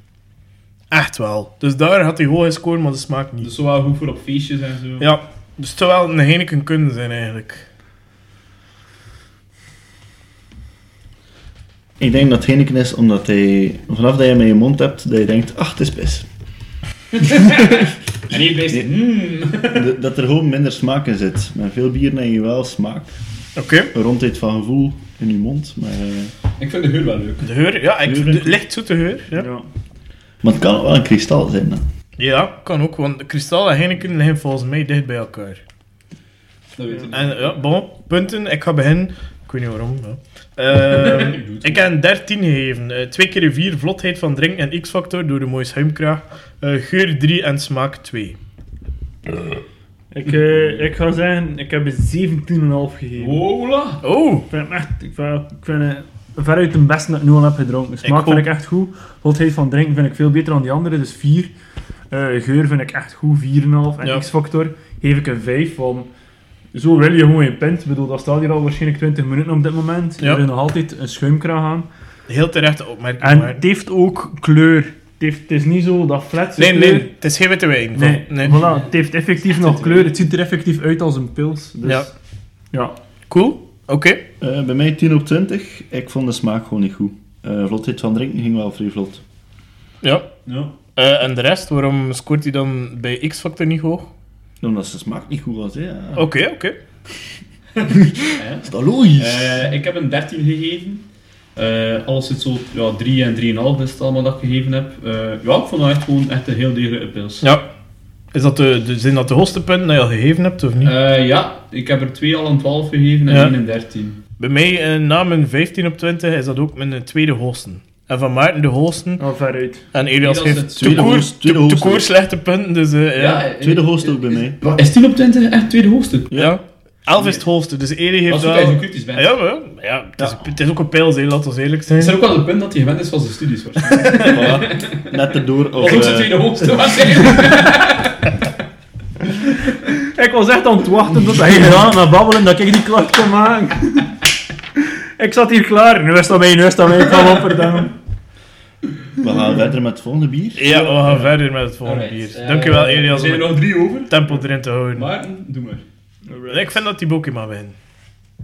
B: Echt wel. Dus daar had hij hoog gescoord, maar de smaak niet.
A: Dus zo wel goed voor op feestjes en zo.
B: Ja, dus het zou wel een Heineken kunnen zijn, eigenlijk.
C: Ik denk dat het Heineken is omdat hij, vanaf dat je hem in je mond hebt, dat je denkt, ach, het is pis.
A: En hierbij is het, mm.
C: D- dat er gewoon minder smaak in zit. Met veel bieren heb je wel smaak.
B: Oké.
C: Een rondheid van gevoel in je mond. Maar, eh,
A: Ik vind de geur wel leuk.
B: De geur, ja. Ik,
C: Geur, denk
B: de,
C: ik.
B: licht zoete geur, ja.
D: Ja.
C: maar het kan ook wel een kristal zijn. Dan.
B: Ja, kan ook, want kristal en Heineken liggen volgens mij dicht bij elkaar.
A: Dat weet ik
B: En ja, bon, punten. Ik ga beginnen. Ik weet niet waarom. Ja. Ehm,
A: Ik doe het.
B: ik heb een 13 gegeven. Eh, twee keer een 4, vlotheid van drinken en X-factor door de mooie schuimkraag. Eh, geur 3 en smaak 2.
D: Ik, eh, ik ga zeggen, ik heb een 17,5
A: niet.
D: gegeven.
A: Hola!
B: Oh,
D: Ik vind hem echt, ik vind, ik vind het veruit de beste dat ik nu al heb gedronken. De smaak
B: Ik
D: vind
B: ook.
D: ik echt goed. Vlotheid van drinken vind ik veel beter dan die andere, dus 4. Eh, geur vind ik echt goed, 4,5. En
B: Ja.
D: X-factor geef ik een 5, want zo wil je gewoon je pint. Ik bedoel, dat staat hier al waarschijnlijk 20 minuten op dit moment.
B: Ja.
D: Er is nog altijd een schuimkraag aan.
B: heel terechte opmerking.
D: En
B: maar-
D: het heeft ook kleur. Het, heeft, het is niet zo dat flat
B: Nee, nee, het is geen witte wijn. Van-
D: Nee,
B: nee.
D: Voilà, het heeft effectief nog
A: een
D: kleur. Het ziet er effectief uit als een pils. Dus,
B: Ja.
D: ja. ja.
B: Cool, oké.
C: Eh, bij mij 10 op 20. Ik vond de smaak gewoon niet goed. Eh vlotheid van drinken ging wel vrij vlot.
B: Ja.
A: Ja.
B: Eh, en de rest, waarom scoort hij dan bij X-factor niet hoog?
C: Omdat ze smaak niet goed was. hè, Ja.
A: Oh.
B: Oké, oké.
A: Ah,
C: Is dat logisch?
A: Eh, ik heb een 13 gegeven. Eh, alles zit zo ja, 3 en 3,5 is het allemaal dat ik gegeven heb. Eh, ja, ik vond dat echt gewoon echt een heel degelijke pils.
B: Ja. Is dat de, de, zijn dat de hoogste punten die je al gegeven hebt, of niet?
A: Eh, ja, ik heb er twee al een 12 gegeven en
B: Ja.
A: één een 13.
B: Bij mij, eh, na mijn 15 op 20, is dat ook mijn eh, tweede hoogste. En van Maarten de hoogste.
D: Al nou, veruit.
B: En Elias
A: Elias het
B: geeft te
C: tweede
B: koer,
C: hoogste-
B: te-
C: tweede
B: te
C: hoogste.
B: koer slechte punten, dus eh, ja.
A: eh,
C: Tweede
A: eh,
C: hoogste ook bij
A: is-
C: mij.
A: Wat, Is 10 op 20 echt tweede hoogste?
B: ja. Elf is het hoogste, dus Eli
A: Als
B: heeft
A: je zo
B: wel...
A: kritisch bent.
B: Ja, maar, ja, het, is, het is ook een pijl, laten we eerlijk zijn.
A: Is er ook wel een punt dat hij gewend is van zijn studies? waarschijnlijk?
C: Voilà. Net erdoor. Of,
A: Of ook zijn
C: eh,
A: tweede hoogste waarschijnlijk.
D: Ik was echt aan het wachten tot hij gedaan had met babbelen, dat ik die klacht kon maken. ik zat hier klaar. Nu is dat mij, nu is dat mij. Ik ga opverdammen.
C: we gaan verder met het volgende bier.
B: Ja, we gaan verder met het volgende
A: Alright,
B: bier.
A: eh,
B: Dankjewel, Elias,
A: Er
B: om
A: zijn er
B: het
A: nog drie over.
B: tempo erin te houden.
A: Maarten, doe maar.
B: Ik vind dat die Boki mag winnen.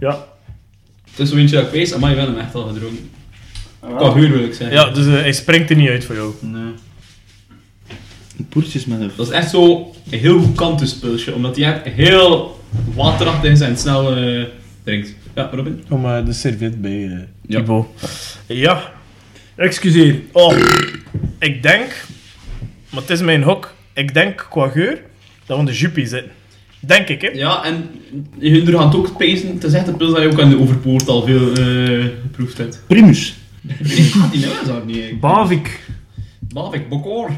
D: Ja.
A: Het is zo eentje dat ik wees, maar je bent hem echt al gedronken. Qua huur wil ik zeggen.
B: Ja, dus eh, hij springt er niet uit voor jou.
A: Nee.
C: Poertjes met een...
A: Dat is echt zo een heel goed kantenspulsje, omdat die echt heel waterachtig is en snel eh, drinkt. Ja, Robin?
B: Om eh, de servet bij
A: Ja.
B: Thibaut. Ja,
D: Excuseer.
B: Oh, ik denk, maar het is mijn hok, ik denk qua geur dat we in de jupie zitten. Denk ik, hè?
A: Ja, en hun gaat ook pezen. Het is echt een pils dat je ook aan de overpoort al veel eh, geproefd hebt.
C: Primus.
A: Ik had die nou zo niet.
B: eh.
A: eigenlijk.
D: Bavik.
A: Bavik, Bokor.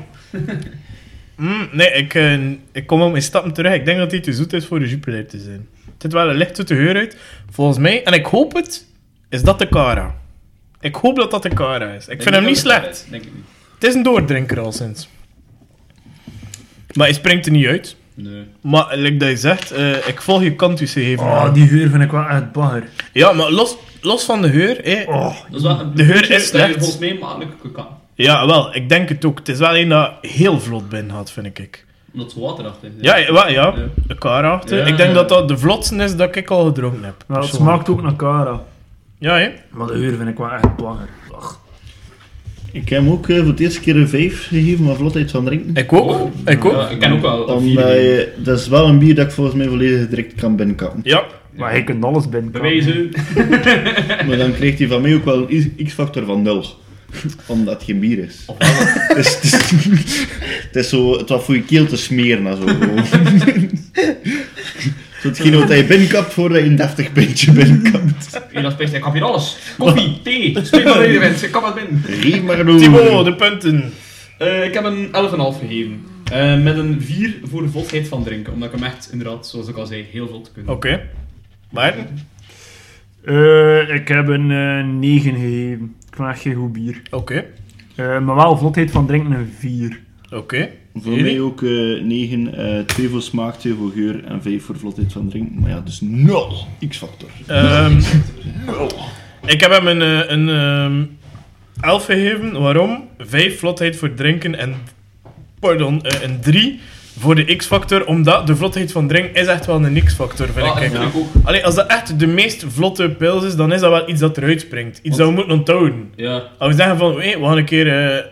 B: Mm, nee, ik, eh, ik kom al mijn stappen terug. Ik denk dat hij te zoet is voor de Jupiler te zijn. Het zit wel een licht zoete geur uit. Volgens mij, en ik hoop het, is dat de Cara. Ik hoop dat dat de Cara is. Ik vind hem niet slecht.
A: Denk ik niet.
B: Het is een doordrinker al sinds. Maar hij springt er niet uit.
A: Nee.
B: Maar, eh, like dat je zegt, eh, ik volg je kantus gegeven.
D: Oh, die geur vind ik wel echt bagger.
B: Ja, maar los, los van de geur, eh,
D: Oh,
A: Dat is wel een
B: De geur is
A: dat je
B: slecht.
A: volgens mij makkelijk kan.
B: Ja, wel, ik denk het ook. Het is wel een dat heel vlot binnen gaat, vind ik.
A: Omdat het water achter is.
B: Ja, ja, wel, ja.
A: Ja.
B: De kara achter.
A: Ja,
B: ik denk
A: ja.
B: dat dat de vlotste is dat ik al gedronken heb.
D: wel, het
B: persoonlijk.
D: smaakt ook naar Cara.
B: Ja, hè?
D: Maar de geur vind ik wel echt bagger. Ach,
C: Ik heb hem ook eh, voor de eerste keer een 5 gegeven, maar vlotheid van drinken.
B: Ik ook.
A: Oh.
B: Ik ook.
A: Ja,
B: Ja.
A: ik ken ook wel een
C: Omdat
A: vier.
C: je- dat is wel een bier dat ik volgens mij volledig direct kan binnenkappen.
D: maar je kunt alles binnen.
A: Bewijzen.
C: Maar dan krijgt hij van mij ook wel een x-factor van 0. Omdat het geen bier is. Het is, het is, het is zo, het was voor je keel te smeren en zo. Zo hetgeen wat je binnenkapt voordat je een deftig pintje binnenkapt.
A: Hier, dat speelt. Ik heb hier alles. Koffie, thee, speel maar in de wind. Ik kan wat binnen.
C: Geef maar door.
B: Timo, de punten.
A: Eh, ik heb een 11,5 gegeven. Eh, met een 4 voor de vlotheid van drinken. Omdat ik hem echt, inderdaad, zoals ik al zei, heel vlot kan.
B: Oké. Maar,
D: Eh, ik heb een eh 9 gegeven. Ik vind echt geen goed bier.
B: oké.
D: Eh, maar wel vlotheid van drinken een 4.
B: Oké.
C: Voor mij ook eh, 9, 2 voor smaak, 2 voor geur en 5 voor vlotheid van drinken. Maar ja, dus 0 x-factor.
B: Ehm, ik heb hem een, eh, een ehm, 11 gegeven. Waarom? 5 vlotheid voor drinken en pardon, eh, een 3 voor de X-factor. Omdat de vlotheid van drinken is echt wel een X-factor, vind
A: Ah, Ja,
B: ik.
A: ik
B: Kijk,
A: vind
D: nou.
A: ik ook.
B: Allee, als dat echt de meest vlotte pils is, dan is dat wel iets dat eruit springt. Iets dat we moeten onthouden.
A: Ja.
B: Als we zeggen van, hé, we gaan een keer eh,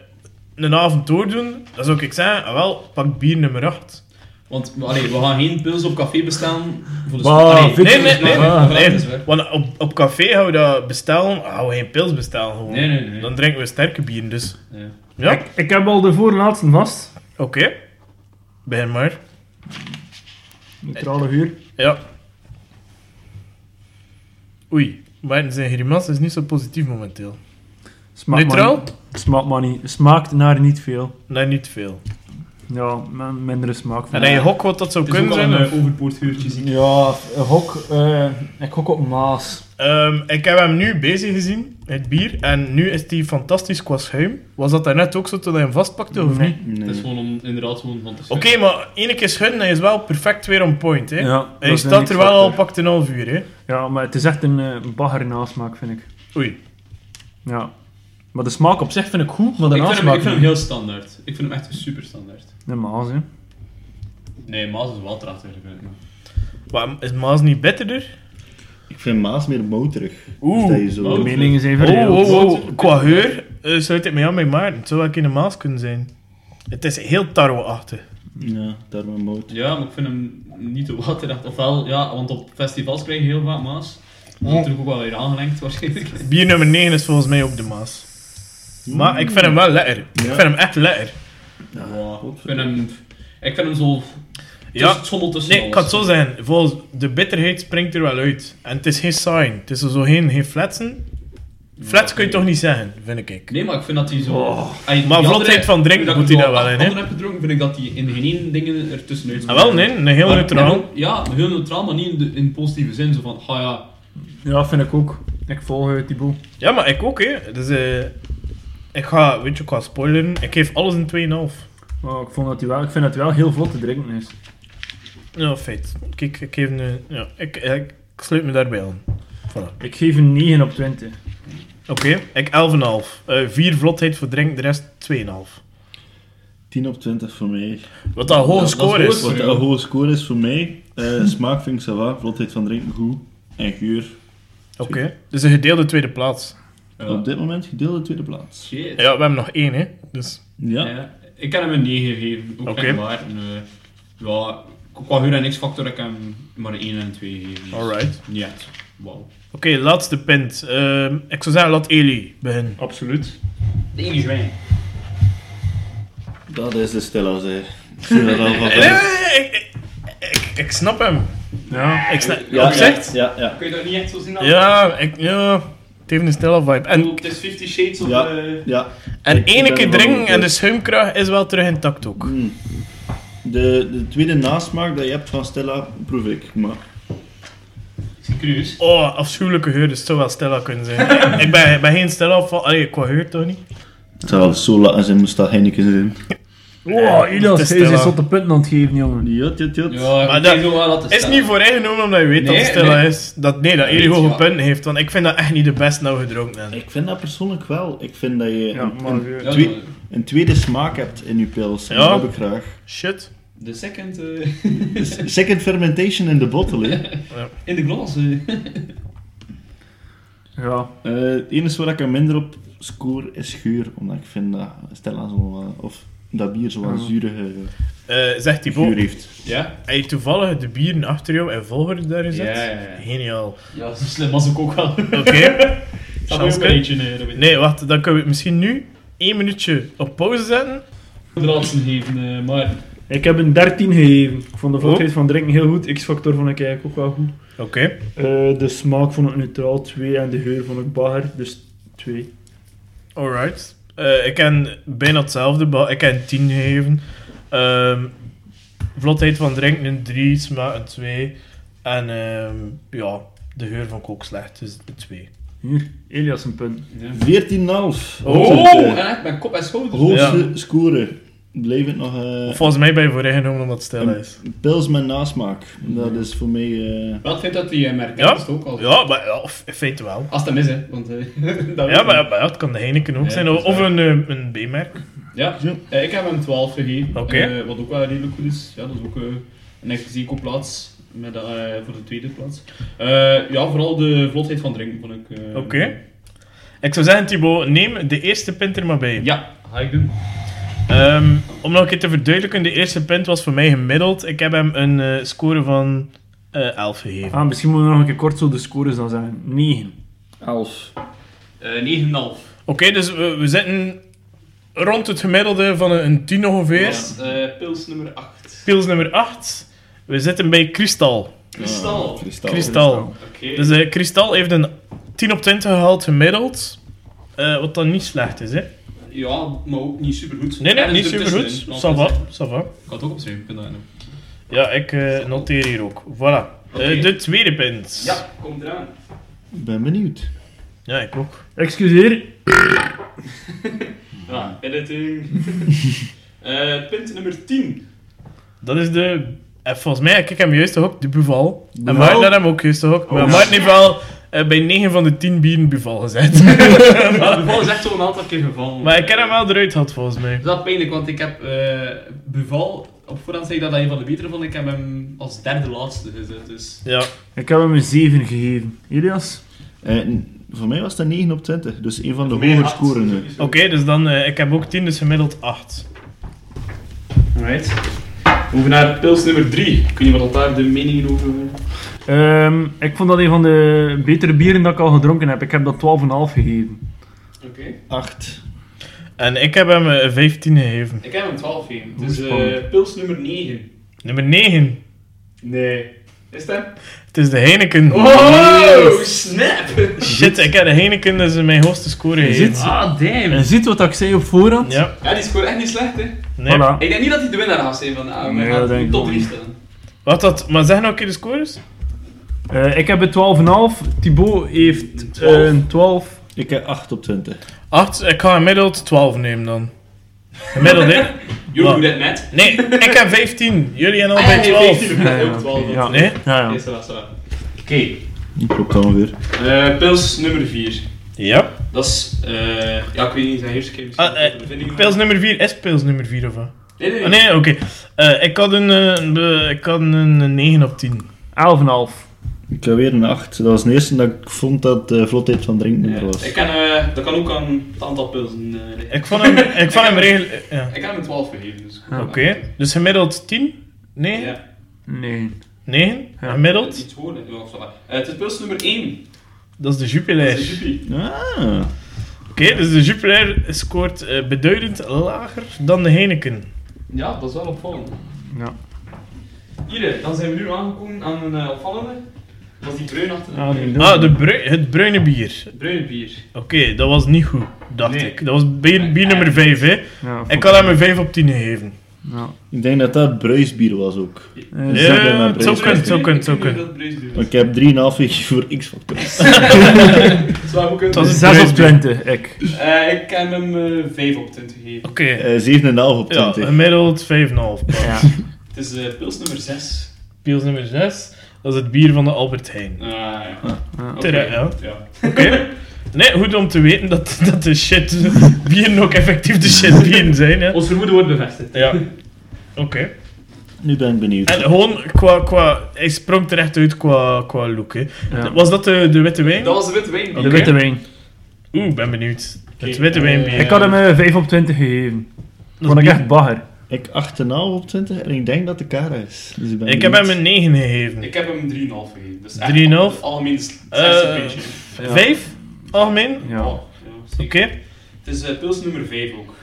B: een avond doordoen, dan zou ik zeggen, ah, wel, pak bier nummer 8.
A: Want maar, allee, we gaan geen pils op café bestellen. Voor de
D: Bah,
A: allee,
D: vind
B: Nee, nee, nee.
A: Ah,
B: nee,
A: dat is waar.
B: want op, op café gaan we dat bestellen, ah, gaan we geen pils bestellen gewoon.
A: Nee, nee, nee.
B: Dan drinken we sterke bieren, dus.
A: Ja.
B: Ja,
D: Ik, ik heb al de voorlaatste vast.
B: oké. Begin maar.
D: Neutrale geur.
B: Ja. Oei, Maarten zijn grimas is niet zo positief momenteel.
D: Smaakt maar
B: Neutraal?
D: niet- Smaakt maar niet. Smaakt naar niet veel.
B: Nee, niet veel.
D: Ja, m- mindere smaak.
B: En dan je hok wat dat zou
A: Het is ook
B: kunnen
A: al
B: zijn?
A: een
B: of-
A: eh, overpoortgeurtje zien.
D: Ja, hok. ik hok op Maas.
B: Ehm, ik heb hem nu bezig gezien, het bier, en nu is die fantastisch qua schuim. Was dat daarnet ook zo toen hij hem vastpakte, of
D: Nee.
B: niet?
C: Nee.
A: Het is gewoon om inderdaad gewoon van te
B: Oké, maar ene keer schudden, hij is wel perfect weer on point, hè?
D: Ja,
B: hij
D: dat is
B: staat
D: een
B: er wel al
D: X-factor.
B: pakt een half uur, hè?
D: Ja, maar het is echt een eh bagger nasmaak, vind ik.
B: Oei.
D: Ja. Maar de smaak op zich vind ik goed, maar de
A: Ik vind, hem,
D: nasmaak
A: ik vind hem
D: niet.
A: heel standaard. Ik vind hem echt super standaard.
D: Nee, Maas, hè.
A: Nee, Maas is wel traag eigenlijk. vind ik, maar-
B: Wat, is Maas niet bitterder?
C: Ik vind Maas meer motorig.
B: Oeh.
C: Dus dat je zo...
D: De
A: Mout.
D: meningen zijn
B: Oh,
D: verdeeld.
B: oh, oh. Qua geur eh, sluit het mij aan bij Maarten. Het zou wel een Maas kunnen zijn. Het is heel tarweachtig.
C: Ja, daar mijn motor.
A: Ja, maar ik vind hem niet te waterdacht. Ofwel, ja, want op festivals krijg je heel vaak Maas. Dat
D: Oh.
A: is natuurlijk ook wel weer aangelengd waarschijnlijk.
B: Bier nummer 9 is volgens mij ook de Maas. Maar ik vind hem wel lekker. Ik vind hem echt lekker.
A: Ja, ik vind hem... Ik vind hem zo...
B: Ja.
A: Ja. Het schommelt tussen
B: Nee, ik
A: alles.
B: kan het zo zeggen. Volgens de bitterheid springt er wel uit. En het is geen saai. Het is zo geen, geen flatsen. Flats kun je toch niet zeggen, vind ik.
A: Nee, maar ik vind dat hij zo...
D: Oh.
A: Ai, die
B: Maar
A: andere-
B: vlotheid van drinken
A: dat
B: moet
A: ik
B: hij
A: zo
B: dat wel in, hè?
A: andere heb gedronken, vind ik dat hij in geen één dingen ertussenuit
B: Ah, wel, nee, een heel
A: Maar-
B: neutraal.
A: en ook- Ja, heel neutraal, maar niet in, de, in positieve zin. Zo van, ah ja,
D: Ja, vind ik ook. Ik volg eh, Thibaut.
B: Ja, maar ik ook, hè. Dus eh, ik ga, weet je, ik ga spoileren. Ik geef alles een 2,5.
D: Maar ik, vond dat hij wel, ik vind dat hij wel heel vlot te drinken is.
B: Ja, feit. Kijk, ik geef een... Ja, ik, ik, ik sluit me daarbij aan. Voilà.
D: Ik geef een 9 op 20.
B: Oké, ik 11,5. Eh 4 vlotheid voor drinken, de rest 2,5.
C: 10 op 20 voor mij.
B: Wat dat een hoge
A: Ja, dat is
B: score is.
A: goed.
C: Wat een hoge score is voor mij. eh, smaak vind ik ça va, vlotheid van drinken goed. En geur
B: Oké, dus een gedeelde tweede plaats.
A: ja,
C: op dit moment gedeelde tweede plaats.
A: eh, shit.
B: Ja, we hebben nog één, hè. Dus...
C: Ja.
A: Ja, ik heb hem een 9 gegeven, ook
B: Oké.
A: okay. maar. En, eh, ja, qua huur en x-factor heb ik hem maar een 1 en 2 gegeven. Dus
B: Alright.
A: Niet echt. Wauw.
B: Oké, laatste punt. Ehm, ik zou zeggen, laat Eli beginnen.
D: Absoluut.
A: De enige wijn.
C: Dat is de stella, zeg. Ik zie dat al van
B: Nee,
C: ver.
B: nee, nee, ik, ik, ik- ik snap hem.
D: Ja.
B: Ik snap,
C: Ja,
B: opzicht?
C: Ja, ja.
A: Kun je dat niet echt zo zien? als-
B: Ja, ik, ja, het heeft een stille vibe.
A: Ik
B: En,
A: bedoel, het is 50 Shades of...
C: Ja,
A: eh,
C: ja.
B: en
C: Ik- ik
B: ene
C: ben
B: keer
C: ervan
B: drinken en
C: overtuigd.
B: de schuimkraag is wel terug intact ook.
C: Mm. De, de tweede nasmaak dat je hebt van Stella proef ik. Maar
A: Ik zie cruis.
B: Oh, afschuwelijke geur, dus het zou wel Stella kunnen zijn. ik ben, ik ben geen Stella van... Allee, qua geur toch niet?
C: het zou wel Sola en zijn moest daar Heineken in.
D: Wow,
B: Eh,
D: Ilias,
B: het
D: hij is
B: Stella.
D: eens op de punten aan het geven, jongen.
C: Jot, jot, jot.
A: Ja,
B: Maar
A: maar
B: dat
A: dat wel dat
B: Is niet voor ingenomen omdat je weet dat
A: Nee,
B: het Stella
A: nee.
B: is. Dat, nee, dat
A: Nee,
B: Eri
A: ja.
B: hoge punten heeft, want ik vind dat echt niet de beste nou gedronken hebben.
C: Ik vind dat persoonlijk wel. Ik vind dat je
D: Ja,
C: een,
D: maar
C: een,
D: weer.
A: Ja,
C: twee- een tweede smaak hebt in je pils. En
B: Ja.
C: Dat heb ik graag.
B: Shit.
A: de second eh,
C: Dus Second fermentation in the bottle. hè.
A: in de glas. eh.
D: Ja.
C: Eh, het enige waar ik er minder op score is geur. Omdat ik vind dat Stella zo wat- of dat bier zo'n
A: Ah.
D: Ja.
C: zurige
A: Oh.
B: Eh, zegt die
C: geur
B: boer.
C: heeft.
A: Ja?
B: Hij heeft toevallig de bieren achter jou en volgorde daar gezet.
A: Ja, ja, ja.
B: Geniaal.
A: Ja, zo slim was ik ook wel.
B: Oké.
A: Dat is ook
B: Chanske.
A: een beetje, eh, dat weet ik.
B: Nee, wacht, dan kunnen we het misschien nu één minuutje op pauze zetten.
A: De laatste geven, eh, maar...
D: Ik heb een 13 gegeven. Ik vond de
B: Oh.
D: vlotheid van drinken heel goed. X-factor vond ik eigenlijk ook wel goed.
B: Oké.
D: Eh, de smaak vond ik neutraal 2 en de geur vond ik bagger, dus 2.
B: Alright. Eh, ik ken bijna hetzelfde, maar ik ken 10 gegeven. Ehm, vlotheid van drinken een 3, smaak een 2. En ehm, ja, de geur van kook slecht, dus een 2.
D: Hier, Elias een punt.
C: 14,5.
A: Oh! En echt mijn kop en schouders.
C: Hoogste score. Bleef het nog... eh,
B: Volgens mij ben je vooringenomen omdat het stil
C: Een
B: is.
C: Pils met nasmaak. Dat is voor mij. eh,
A: Wat vindt dat die merk
B: Ja?
A: is het ook al.
B: Ja, maar ja, of- in feite wel.
A: Als dat mis, hè. Want, eh, dat
B: Ja,
A: weet
B: maar,
A: ik.
B: maar ja, het kan de Heineken ook
A: Ja,
B: zijn.
A: dat is
B: Of
A: waar.
B: een, eh, een B-merk.
A: Ja, eh, ik heb hem 12 gegeven.
B: Oké.
A: eh, wat ook wel redelijk goed is. Ja, dat is ook eh, een echte zeekoplaats. Met, eh, voor de tweede plaats. Eh, ja, vooral de vlotheid van drinken vond ik... eh,
B: Oké. Ik zou zeggen, Thibaut, neem de eerste pint er maar bij.
A: Ja, ga ik doen.
B: Ehm, om nog een keer te verduidelijken, de eerste pint was voor mij gemiddeld. Ik heb hem een eh, score van eh 11 gegeven.
D: Ah, misschien moeten we nog een keer kort zo de scores dan zeggen. 9.
A: Eh, 9,5.
B: Oké, dus we, we zitten rond het gemiddelde van een, een 10 ongeveer.
A: Eerst eh, pils nummer 8.
B: Pils nummer 8. We zitten bij Kristal.
A: Kristal. Oké.
C: ah, kristal.
B: Kristal. Dus eh Kristal heeft een 10 op 20 gehaald gemiddeld. Eh, wat dan niet slecht is, hè?
A: Ja, maar ook niet dus super goed.
B: Nee, nee, niet supergoed. Ça va, ça va.
A: Ik had het ook opschrijven, ik kan dat doen.
B: Ja, ik eh, noteer hier ook. Voilà. Eh,
A: Oké.
B: de tweede pint.
A: Ja, kom eraan.
C: Ik ben benieuwd.
B: Ja, ik ook.
D: Excuseer.
A: Ja, editing. Eh punt nummer 10.
B: Dat is de... En volgens mij, ik heb hem juist gehookt, de Buval. En
C: Buval?
B: Maarten had hem ook juist gehookt. maar
C: ja.
B: Maarten heeft wel eh, bij 9 van de 10 bieren Buval gezet.
A: Ja, Buval is echt zo'n aantal keer gevallen.
B: maar ik heb hem wel eruit gehad, volgens mij.
A: Dat is pijnlijk, want ik heb eh, Buval, op voorhand zei ik dat hij een van de betere vond, ik heb hem als derde laatste gezet. Dus.
B: Ja.
D: Ik heb hem een 7 gegeven. Elias?
C: En Eh, voor mij was dat 9 op 20, dus een van de
A: Meer
C: hoger
A: acht,
C: scorende.
A: sowieso.
B: Oké, dus dan... eh, ik heb ook 10, dus gemiddeld 8.
A: Alright. We hoeven naar pils nummer 3. Ik weet niet wat daar de meningen over
D: Ehm, ik vond dat een van de betere bieren dat ik al gedronken heb. Ik heb dat 12,5 gegeven.
A: Oké.
C: 8.
B: En ik heb hem eh, 15 gegeven.
A: Ik heb hem 12 gegeven.
D: Hoe
A: Dus
D: spannend.
A: eh pils nummer 9.
B: Nummer 9.
A: Nee. Is dat?
B: Het is de Heineken.
A: Oh, snap!
B: Shit, ik heb de Heineken, dat is mijn hoogste score
D: Je
B: gegeven.
D: ziet-
A: Ah,
D: En
A: damn.
D: ziet wat ik zei op voorhand?
B: Ja,
A: Ja, die scoort echt niet slecht, hè.
B: nee.
D: Voilà.
A: Ik denk niet dat hij de winnaar gaat zijn van de avond.
D: Nee,
A: Hij gaat
D: dat denk
A: in
D: ik
A: de top
D: ook
A: 3
D: niet.
A: staan.
B: Wat dat... Maar zeg nog een keer de scores.
D: Eh, ik heb het 12,5. Thibaut heeft
A: Twaalf.
D: eh, een 12.
C: Ik heb 8 op 20.
B: 8, ik ga gemiddeld 12 nemen dan. Gemiddeld, hè?
A: Jullie
B: Ja.
A: doen dit net.
B: Nee, ik heb 15. Jullie hebben
A: Ah, ja,
B: allebei
A: nee,
B: 12.
A: 15 doe ik net
D: Ja,
A: ook
D: oké,
A: 12.
D: ja.
B: Nee?
D: Ja,
A: Oké,
D: ja.
A: ça va, ça va. Oké,
C: Klopt ongeveer.
A: eh, pils nummer 4.
B: Ja.
A: Dat is, eh, ja, ik weet niet, zijn eerste keer misschien
B: Ah, eh,
A: wat de bevindingen
B: Pils
A: waren.
B: nummer 4 is pils nummer 4 of wat?
A: Nee, nee,
D: Oh,
B: Ah, nee, oké. Eh, ik had een, eh, een be- ik had een eh, 9 op 10.
D: 11,5.
C: Ik heb weer een 8. Dat was de eerste dat ik vond dat de vlotheid van drinken
A: nee.
C: er was.
A: Ik kan, eh, dat kan ook aan het aantal pilsen eh, liggen.
B: Ik vond hem, ik vond hem regel... eh, Ja.
A: Ik heb hem 12 gegeven, dus...
D: Ja.
B: Oké, dus gemiddeld 10? 9?
A: Ja,
D: Nee.
B: 9?
D: Ja.
A: dat is
B: Gemiddeld?
A: iets hoger, ja, ça va. Eh, het is pils nummer 1.
B: Dat is de
A: Dat
B: Jupiler.
A: is de Dus Juppie.
C: Ah.
B: Oké, dus de Jupiler scoort eh, beduidend lager dan de Heineken.
A: Ja, dat is wel opvallend.
D: Ja.
A: Hier, dan zijn we nu aangekomen aan een eh, opvallende. Dat was die bruin achter de
D: Ah,
A: bier.
D: die
B: Ah, de brui- het bruine bier.
A: Bruin bier.
B: Oké, dat was niet goed, dacht
A: Nee.
B: ik. Dat was bier, bier nummer 5, hè.
D: Ja,
B: Ik had hem een 5 op 10 gegeven.
D: Ja.
C: Ik denk dat dat bruisbier was ook.
D: Eh,
B: Ja,
D: zeg-
C: maar
B: het zou
C: bruisbier.
B: kunnen, het zou kunnen, het zou kunnen.
C: Want ik heb 3,5 gegeven voor x podcast
A: Zwaar ook
B: Dat is-
D: Zes op
B: Bruisbier.
D: 20, ik.
A: Eh, Ik heb hem 5 op 20 gegeven.
B: Oké,
C: Eh 7,5 op
B: ja,
C: 20.
B: gemiddeld 5,5.
D: Ja.
A: Het is eh, pils nummer 6.
B: Pils nummer 6, dat is het bier van de Albert Heijn.
A: Ah, ja.
D: Ah.
A: Oké,
B: Tere, ja.
A: ja.
B: Oké. Nee, goed om te weten dat, dat de shit bieren ook effectief de shit bieren zijn. Hè. Oké.
A: Ons vermoeden wordt bevestigd.
B: Ja.
C: Nu ben ik benieuwd.
B: En gewoon qua, qua... Hij sprong terecht uit qua, qua look. Hè.
D: Ja.
B: Was dat de, de witte wijn?
A: Dat was de witte wijn.
D: De witte wijn.
B: Oeh, ben benieuwd. Het
A: Oké,
B: witte
A: eh,
B: wijnbier.
D: Ik had hem eh, 5 op 20 gegeven.
B: is
D: Vond ik
B: bier.
D: echt bagger.
C: Ik 8,5 op 20 en ik denk dat de Kara is. Dus ik ben
B: Ik heb
C: benieuwd.
B: hem een 9 gegeven.
A: Ik heb hem 3,5 gegeven. Dus echt
B: 3,5?
A: het Algemeen is het
B: Eh,
A: slechtste puntje.
D: Ja.
B: 5? Algemeen? Oké.
D: Ja.
A: Oh, ja, zeker. Het is eh, pils nummer 5 ook.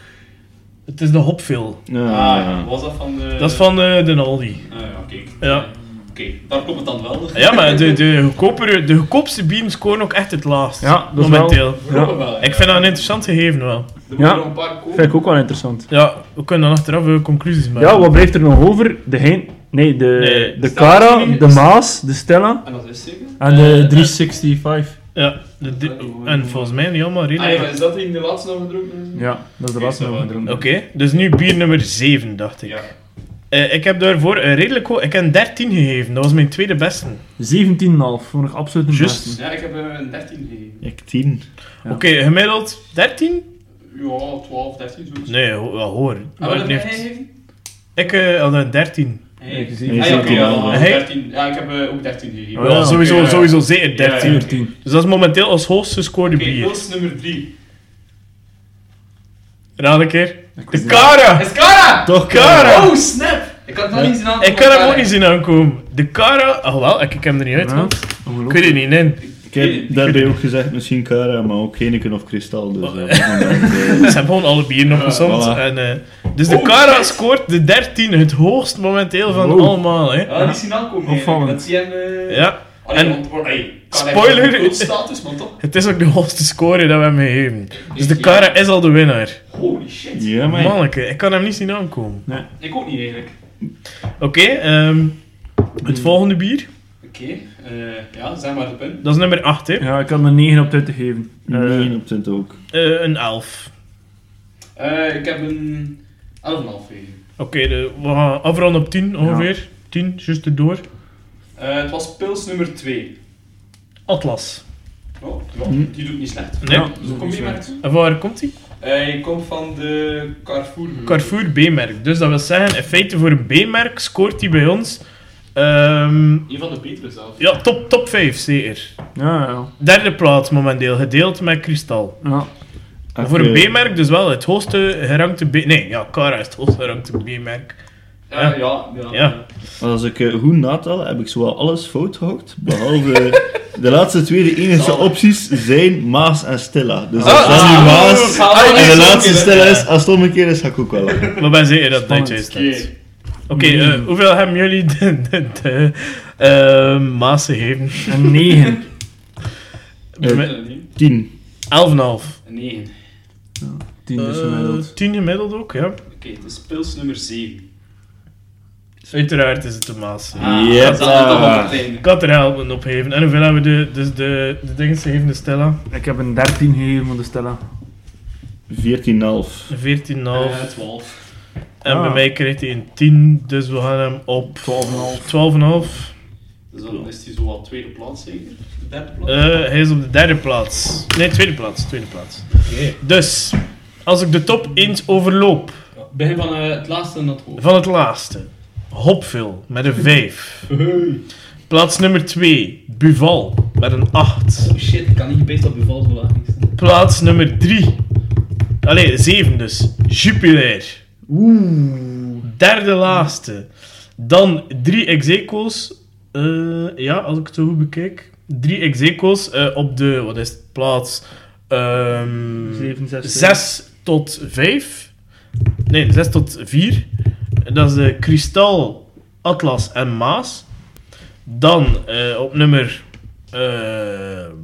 B: Het is de hopveel.
C: Ja,
A: ah,
C: ja.
A: ja. was dat van de...
B: Dat is van eh, de Aldi.
A: Ah, ja, oké.
B: Ja.
A: Oké, daar komt het dan wel.
B: Ja, maar de, de, goedkopere, de goedkoopste bieren scoren ook echt het laagst.
D: Ja, dat is wel-
B: momenteel.
A: We roepen wel, ja.
B: Ik vind dat een interessant gegeven wel.
A: Er moeten
D: Ja.
A: nog een paar kopen.
D: Vind ik ook wel interessant.
B: Ja, we kunnen dan achteraf eh, conclusies maken.
D: Ja, wat blijft er nog over? De Hein... Nee, de,
B: Nee,
D: de
A: Stella
D: Cara,
A: is niet-
D: de Maas, de Stella
A: En dat is zeker. Ah,
D: en
B: Eh,
D: de 365.
B: Ja, de- de- en volgens mij niet allemaal
A: Ah, ja, maar
B: redelijk.
A: is dat die in de laatste nog gedronken? is?
D: Ja, dat is de
A: Oké,
D: laatste
A: zo
D: nog
A: wel.
D: gedronken.
B: Oké, dus nu bier nummer 7, dacht ik.
A: Ja.
B: Eh, ik heb daarvoor een redelijk hoog... Ik heb een 13 gegeven, dat was mijn tweede beste.
D: 17,5 vond ik absoluut een
B: Just.
D: beste.
A: Ja, ik heb eh, een 13 gegeven.
C: Ik 10.
D: Ja.
B: Oké, gemiddeld 13?
A: Ja, 12, 13 zoiets.
B: Nee, ho wel hoor.
A: Ah,
B: Maar
A: wat heb
B: het
A: jij
B: heeft-
A: gegeven?
B: Ik eh, had een 13.
A: Hey.
D: Ik
A: Ah,
D: zie-
A: ja,
C: ik
A: oké,
C: zie-
A: ja, dan
B: Hey.
A: 13. Ja, ik heb eh, ook 13 gegeven.
B: Wel,
D: Oh oké,
B: sowieso,
A: ja.
B: sowieso zeker 13.
D: 10 10.
B: Dus dat is momenteel als hoogste scoorde
A: Oké,
B: bier.
A: pils nummer 3.
B: Raad een keer. De
D: wist-
B: Cara!
A: Is Cara!
C: Toch
B: Cara!
A: Oh, snap! Ik had dat niet zien aan.
B: Ik kan hem ook niet zien aankomen. De Cara... Oh wel, ik, ik heb hem er niet uit.
D: Ja.
B: want Ik weet het niet, nee.
C: Ik heb daarbij ook gezegd misschien Kara, maar ook Heineken of Kristal. Dus,
B: Oh.
C: eh, op dit moment, eh,
B: Ze hebben gewoon alle bieren opgezond.
C: voilà.
B: en, eh, dus de
A: Oh,
B: Cara
A: shit.
B: scoort de 13, het hoogst momenteel van
D: Wow.
B: allemaal. Hè.
A: Ja, niet zien aankomen. eigenlijk.
D: Opvallend.
A: Dat zie je hem... eh,
B: Ja,
A: Allee,
B: En-
A: want, hoor, hey, kan hij
B: Spoiler.
A: wel een cultstatus, man, toch?
B: het is ook de hoogste score dat we hem gegeven. Dus de Cara is al de winnaar.
A: Holy shit.
C: ja, maar
B: Manneke, ik kan hem niet zien aankomen.
A: Ik ook niet eigenlijk.
B: Oké, ehm,
D: Hmm.
B: het volgende bier,
A: Oké, eh, ja, zeg maar de punt.
B: dat is nummer 8, hè.
D: Ja, ik had me 9 op 20 gegeven. Eh,
C: 9 op 20 ook.
B: Eh, een 11.
A: Eh, ik heb een 11,5 gegeven.
B: Oké, de- we gaan afronden op 10 ongeveer. 10, juist erdoor.
A: Eh, het was pils nummer 2.
B: Atlas.
A: Oh, ja,
B: Mhm.
C: Hm.
A: Die doet niet slecht.
B: Nee.
D: Ja.
A: Zo kom je met.
B: En waar komt die?
A: Eh, je komt van de Carrefour. groep.
B: Carrefour B-merk. Dus dat wil zeggen, in feite voor een B-merk scoort die bij ons... ehm,
A: Een van de betere zelf.
B: ja, top, top 5 zeker.
D: Eh, Ja, ja.
B: Derde plaats momenteel, gedeeld met Kristal.
D: ja.
B: Maar Voor een
C: Ik, eh,
B: B-merk dus wel het hoogste gerankte B... Nee, ja, Cara is het hoogste gerankte B-merk.
C: Ah,
A: Ja, ja, Eh, ja.
B: Ja.
C: Als ik eh, goed natel, heb ik zowel alles fout gehoord, behalve eh, de laatste twee, de enige opties zijn Maas en Stella. Dus
B: Ah.
C: als dat nu Maas en de laatste Stella is, als het om een keer is, ga ik ook wel. lachen.
B: Maar ben zeker dat dat
D: Spannend. Hmm.
B: juist
A: Oké.
B: is. Oké, eh, hoeveel hebben jullie de, de, de eh, Maas gegeven?
D: Een 9.
C: Eh,
B: Met
C: 10.
B: 11,5.
A: Een 9.
D: 10 dus gemiddeld.
B: 10 gemiddeld ook, ja.
A: Oké, het is pils nummer 7.
B: Uiteraard is het de Maas.
C: Jeppa.
A: Ah, dat is dan op het einde.
B: Ik had er helpen opgeven. En hoeveel hebben we de, dus de, de dingen gegeven, de Stella?
D: Ik heb een 13 gegeven voor de Stella.
B: 14,5.
C: 14,5.
A: Eh, 12.
B: en bij
D: ah.
B: mij kreeg hij een 10, dus we gaan hem op
D: 12,5.
B: 12,5.
A: Dus dan is hij zo wat tweede plaats zeker? De derde plaats?
B: Eh, hij is op de derde plaats. Nee, tweede plaats. Tweede plaats. Dus, als ik de top eens overloop
A: Ja, Begin van eh, het laatste en dat hoofd.
B: van het laatste. Hopville met een 5. Plaats nummer 2, Buval met een 8.
A: Oh shit, ik kan niet gebeest op beval zo laag niet staan.
B: Plaats nummer 3. Allee, 7 dus. Jupiler. Oeh. Derde laatste. Dan drie exequos. Eh ja, als ik het zo goed bekijk. Drie exequos eh op de, wat is het, plaats ehm
D: 7, 6,
B: 6 tot 5. Nee, 6 tot 4. Dat is de Kristal Atlas en Maas. Dan eh, op nummer... eh,
A: Het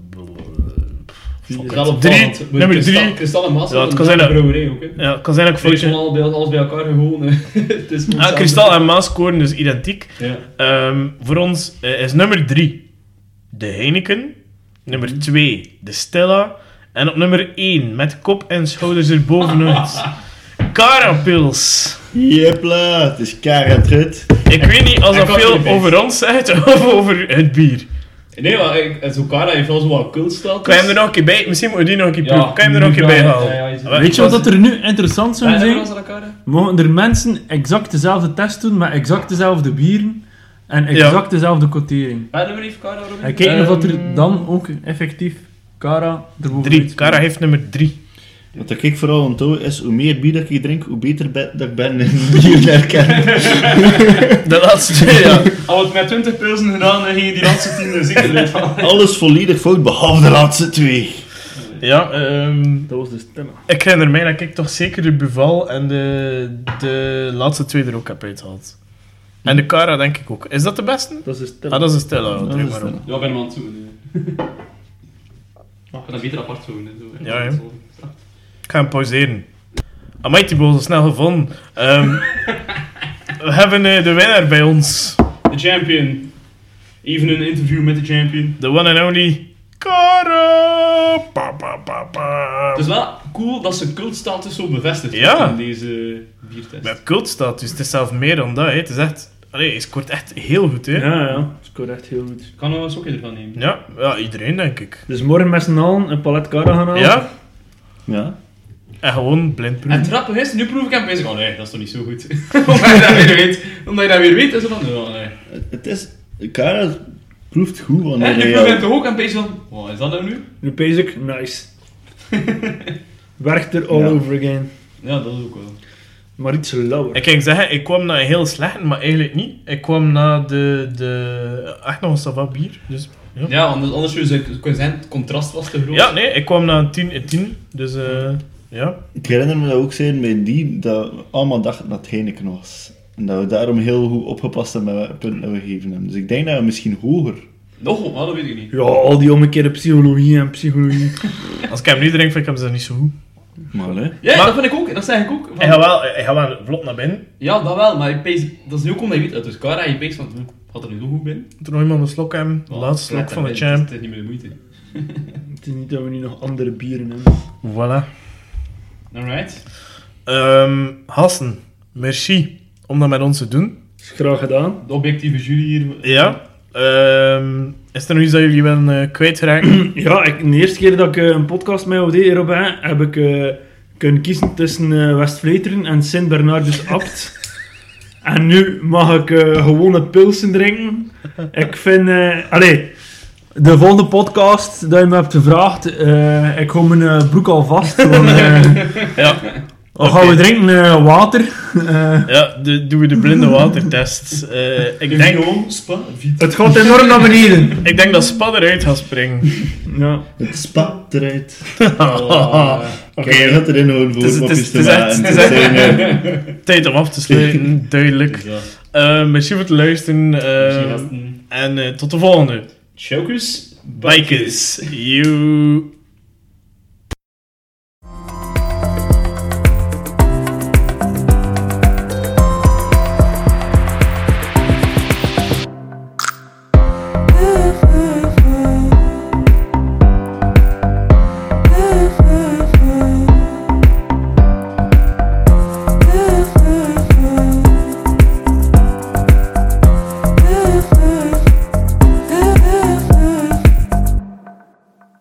B: fuck
A: is
B: it.
A: wel
B: Drie,
A: opvallend. Moet
B: nummer
A: kristal-
B: drie.
A: Kristallenmassa
B: Ja, het
A: van
B: kan
A: de
B: zijn dat-
A: brouwerij ook. Hè.
B: Ja, het kan zijn dat ik
A: Volgens
B: foutje...
A: al bij, alles bij elkaar gewoon. hè. het is
B: Ah, Kristal en Maas scoren dus identiek.
A: Ja.
B: Ehm, voor ons eh, is nummer 3 de Heineken. Nummer 2 de Stella. En op nummer 1 met kop en schouders erbovenuit. Carapils.
C: Jepla, het is karatrit.
B: Ik weet niet als
A: en
B: dat veel
A: koffiebeest.
B: over ons zegt of over het bier.
A: Nee, maar ik- het Zokara heeft wel zo wat dus- cultstatus.
B: Kan je hem er nog een keer bij? Misschien moet je die nog een keer
A: Ja,
B: proeven. Kan je hem er nog een
A: ja,
B: keer bij
A: ja,
B: halen?
A: ja, ja,
B: Wel,
D: Weet je
B: was-
D: wat dat er nu interessant zou
A: Ja,
D: zijn?
A: en Zokara?
D: Mogen er mensen exact dezelfde test doen met exact dezelfde bieren en exact dezelfde quotering?
A: Ja, nummer even Kara, Robin.
D: En kijken of dat
B: Ehm.
D: er dan ook effectief Cara erboven
B: Drie.
D: iets-
B: Cara heeft nummer 3.
C: Wat dat ik vooral onthoud is, hoe meer bier dat ik drink, hoe beter be- dat ik ben in bierherkenning.
B: De laatste, ja.
A: Al het met 20 pilsen gedaan en ging die laatste 10 er zeker uit van.
C: Alles volledig fout, behalve de laatste twee.
B: Ja, ehm,
D: Dat was de stemmen.
B: Ik herinner mij dat ik toch zeker de Buval en de, de laatste twee er ook heb uitgehaald. En de Cara denk ik ook. Is dat de beste?
D: Dat is de
B: Ah,
D: stemmen.
B: dat is een Stella.
C: Dat
B: druk
C: is
B: maar op.
C: dan-
A: Ja, ik ben hem aan het zoeken. Ik kan dat beter apart zoeken. hè, Zo,
B: Ja, hè. Ik ga hem pauzeren. Amai, Thibaut, zo snel gevonden. Ehm, we hebben eh, de winnaar bij ons.
A: De champion. Even een interview met de champion.
B: De one and only Cara. Pa, pa, pa, pa.
A: Het is wel cool dat ze cultstatus zo bevestigd
B: Ja.
A: wordt in deze biertest.
B: Met cultstatus. Het is zelf meer dan dat. Hè. Het is echt... Allee, hij scoort echt heel goed, hè. Ja.
D: Ja, ja. Het scoort echt heel goed.
A: Ik kan nog een sokje ervan nemen.
B: Ja, iedereen, denk ik.
D: Dus morgen met z'n allen een palet Cara gaan halen.
B: Ja?
C: Ja.
B: En gewoon blind
A: En het grappige is, nu proef ik hem bezig. Oh nee, dat is toch niet zo goed. Omdat je dat weer weet. Omdat je dat weer weet, is het van... Oh nee.
C: Het is... Kara proeft goed wanneer
A: En nu
C: hij
A: proef
C: al-
A: ik hem toch ook aan bezig van... Wat is dat nou nu?
D: Nu pees ik, nice. Werkt er all
C: Ja.
D: over again.
A: Ja, dat is ook wel.
D: Maar iets lauwer.
B: Ik ging zeggen, ik kwam naar een heel slecht, maar eigenlijk niet. Ik kwam naar de, de echt nog een Sava bier. Dus, ja.
A: Ja, anders, anders zou je kunnen zeggen, het contrast was te groot.
B: ja, nee, ik kwam naar een 10 in 10. Dus eh, ja.
C: Ik herinner me dat ook zijn bij die dat we allemaal dachten dat het Heineken was. En dat we daarom heel goed opgepast hebben met welke punten we gegeven hebben. Dus ik denk dat we misschien hoger...
A: Nog, maar dat weet ik niet.
D: Ja, al die omgekeerde psychologie en psychologie.
B: Als ik hem nu drink, vind ik hem ze niet zo goed.
C: Maar hè?
A: Ja,
B: Maar-
A: dat vind ik ook. Dat zeg ik ook.
B: Hij gaat wel, hij gaat wel vlot naar binnen.
A: Ja, dat wel, maar ik pees, dat is nu ook omdat je weet dat dus Cara je pees van, hm, had er nu zo goed binnen.
B: Toen nog iemand een slok hebben. De
A: Oh,
B: laatste
A: ja,
B: slok van de
A: dat is-
B: champ.
A: Dat is niet meer de moeite.
D: Het is niet dat we nu nog andere bieren hebben.
B: Voilà.
A: Alright.
B: Ehm Hassen, merci om dat met ons te doen.
D: Is graag gedaan.
A: De objectieve jury hier.
B: Ja. Ehm, is er nog iets dat jullie willen eh, kwijtraken?
D: Ja, ik, de eerste keer dat ik eh, een podcast met jou deed, Robin, heb ik eh, kunnen kiezen tussen eh West-Vleteren en Sint-Bernardus Abt. en nu mag ik eh gewone pilsen drinken. Ik vind... eh allee, de volgende podcast dat je me hebt gevraagd, eh, ik hou mijn eh, broek al vast. Want, eh,
B: ja.
D: wat gaan we
B: Oké.
D: drinken? Eh, water? Eh,
B: Ja, de- doen we de blinde watertest. Eh, ik, denk,
A: Vignon, Spa, Vita.
D: het gaat enorm naar beneden.
B: ik denk dat Spa eruit gaat springen.
D: Ja.
C: Het spat eruit.
B: Oké,
C: Oké, je gaat erin horen voor
B: Het is- het
C: mopjes
B: is-
C: te
B: het is echt-
C: maken.
B: het is
C: Het zijn, eh,
B: tijd om af te sluiten, duidelijk.
A: Ja.
B: Eh merci voor het luisteren. eh,
A: Misschien was het een-
B: en eh, tot de volgende.
A: Chokers.
B: Bikers, you...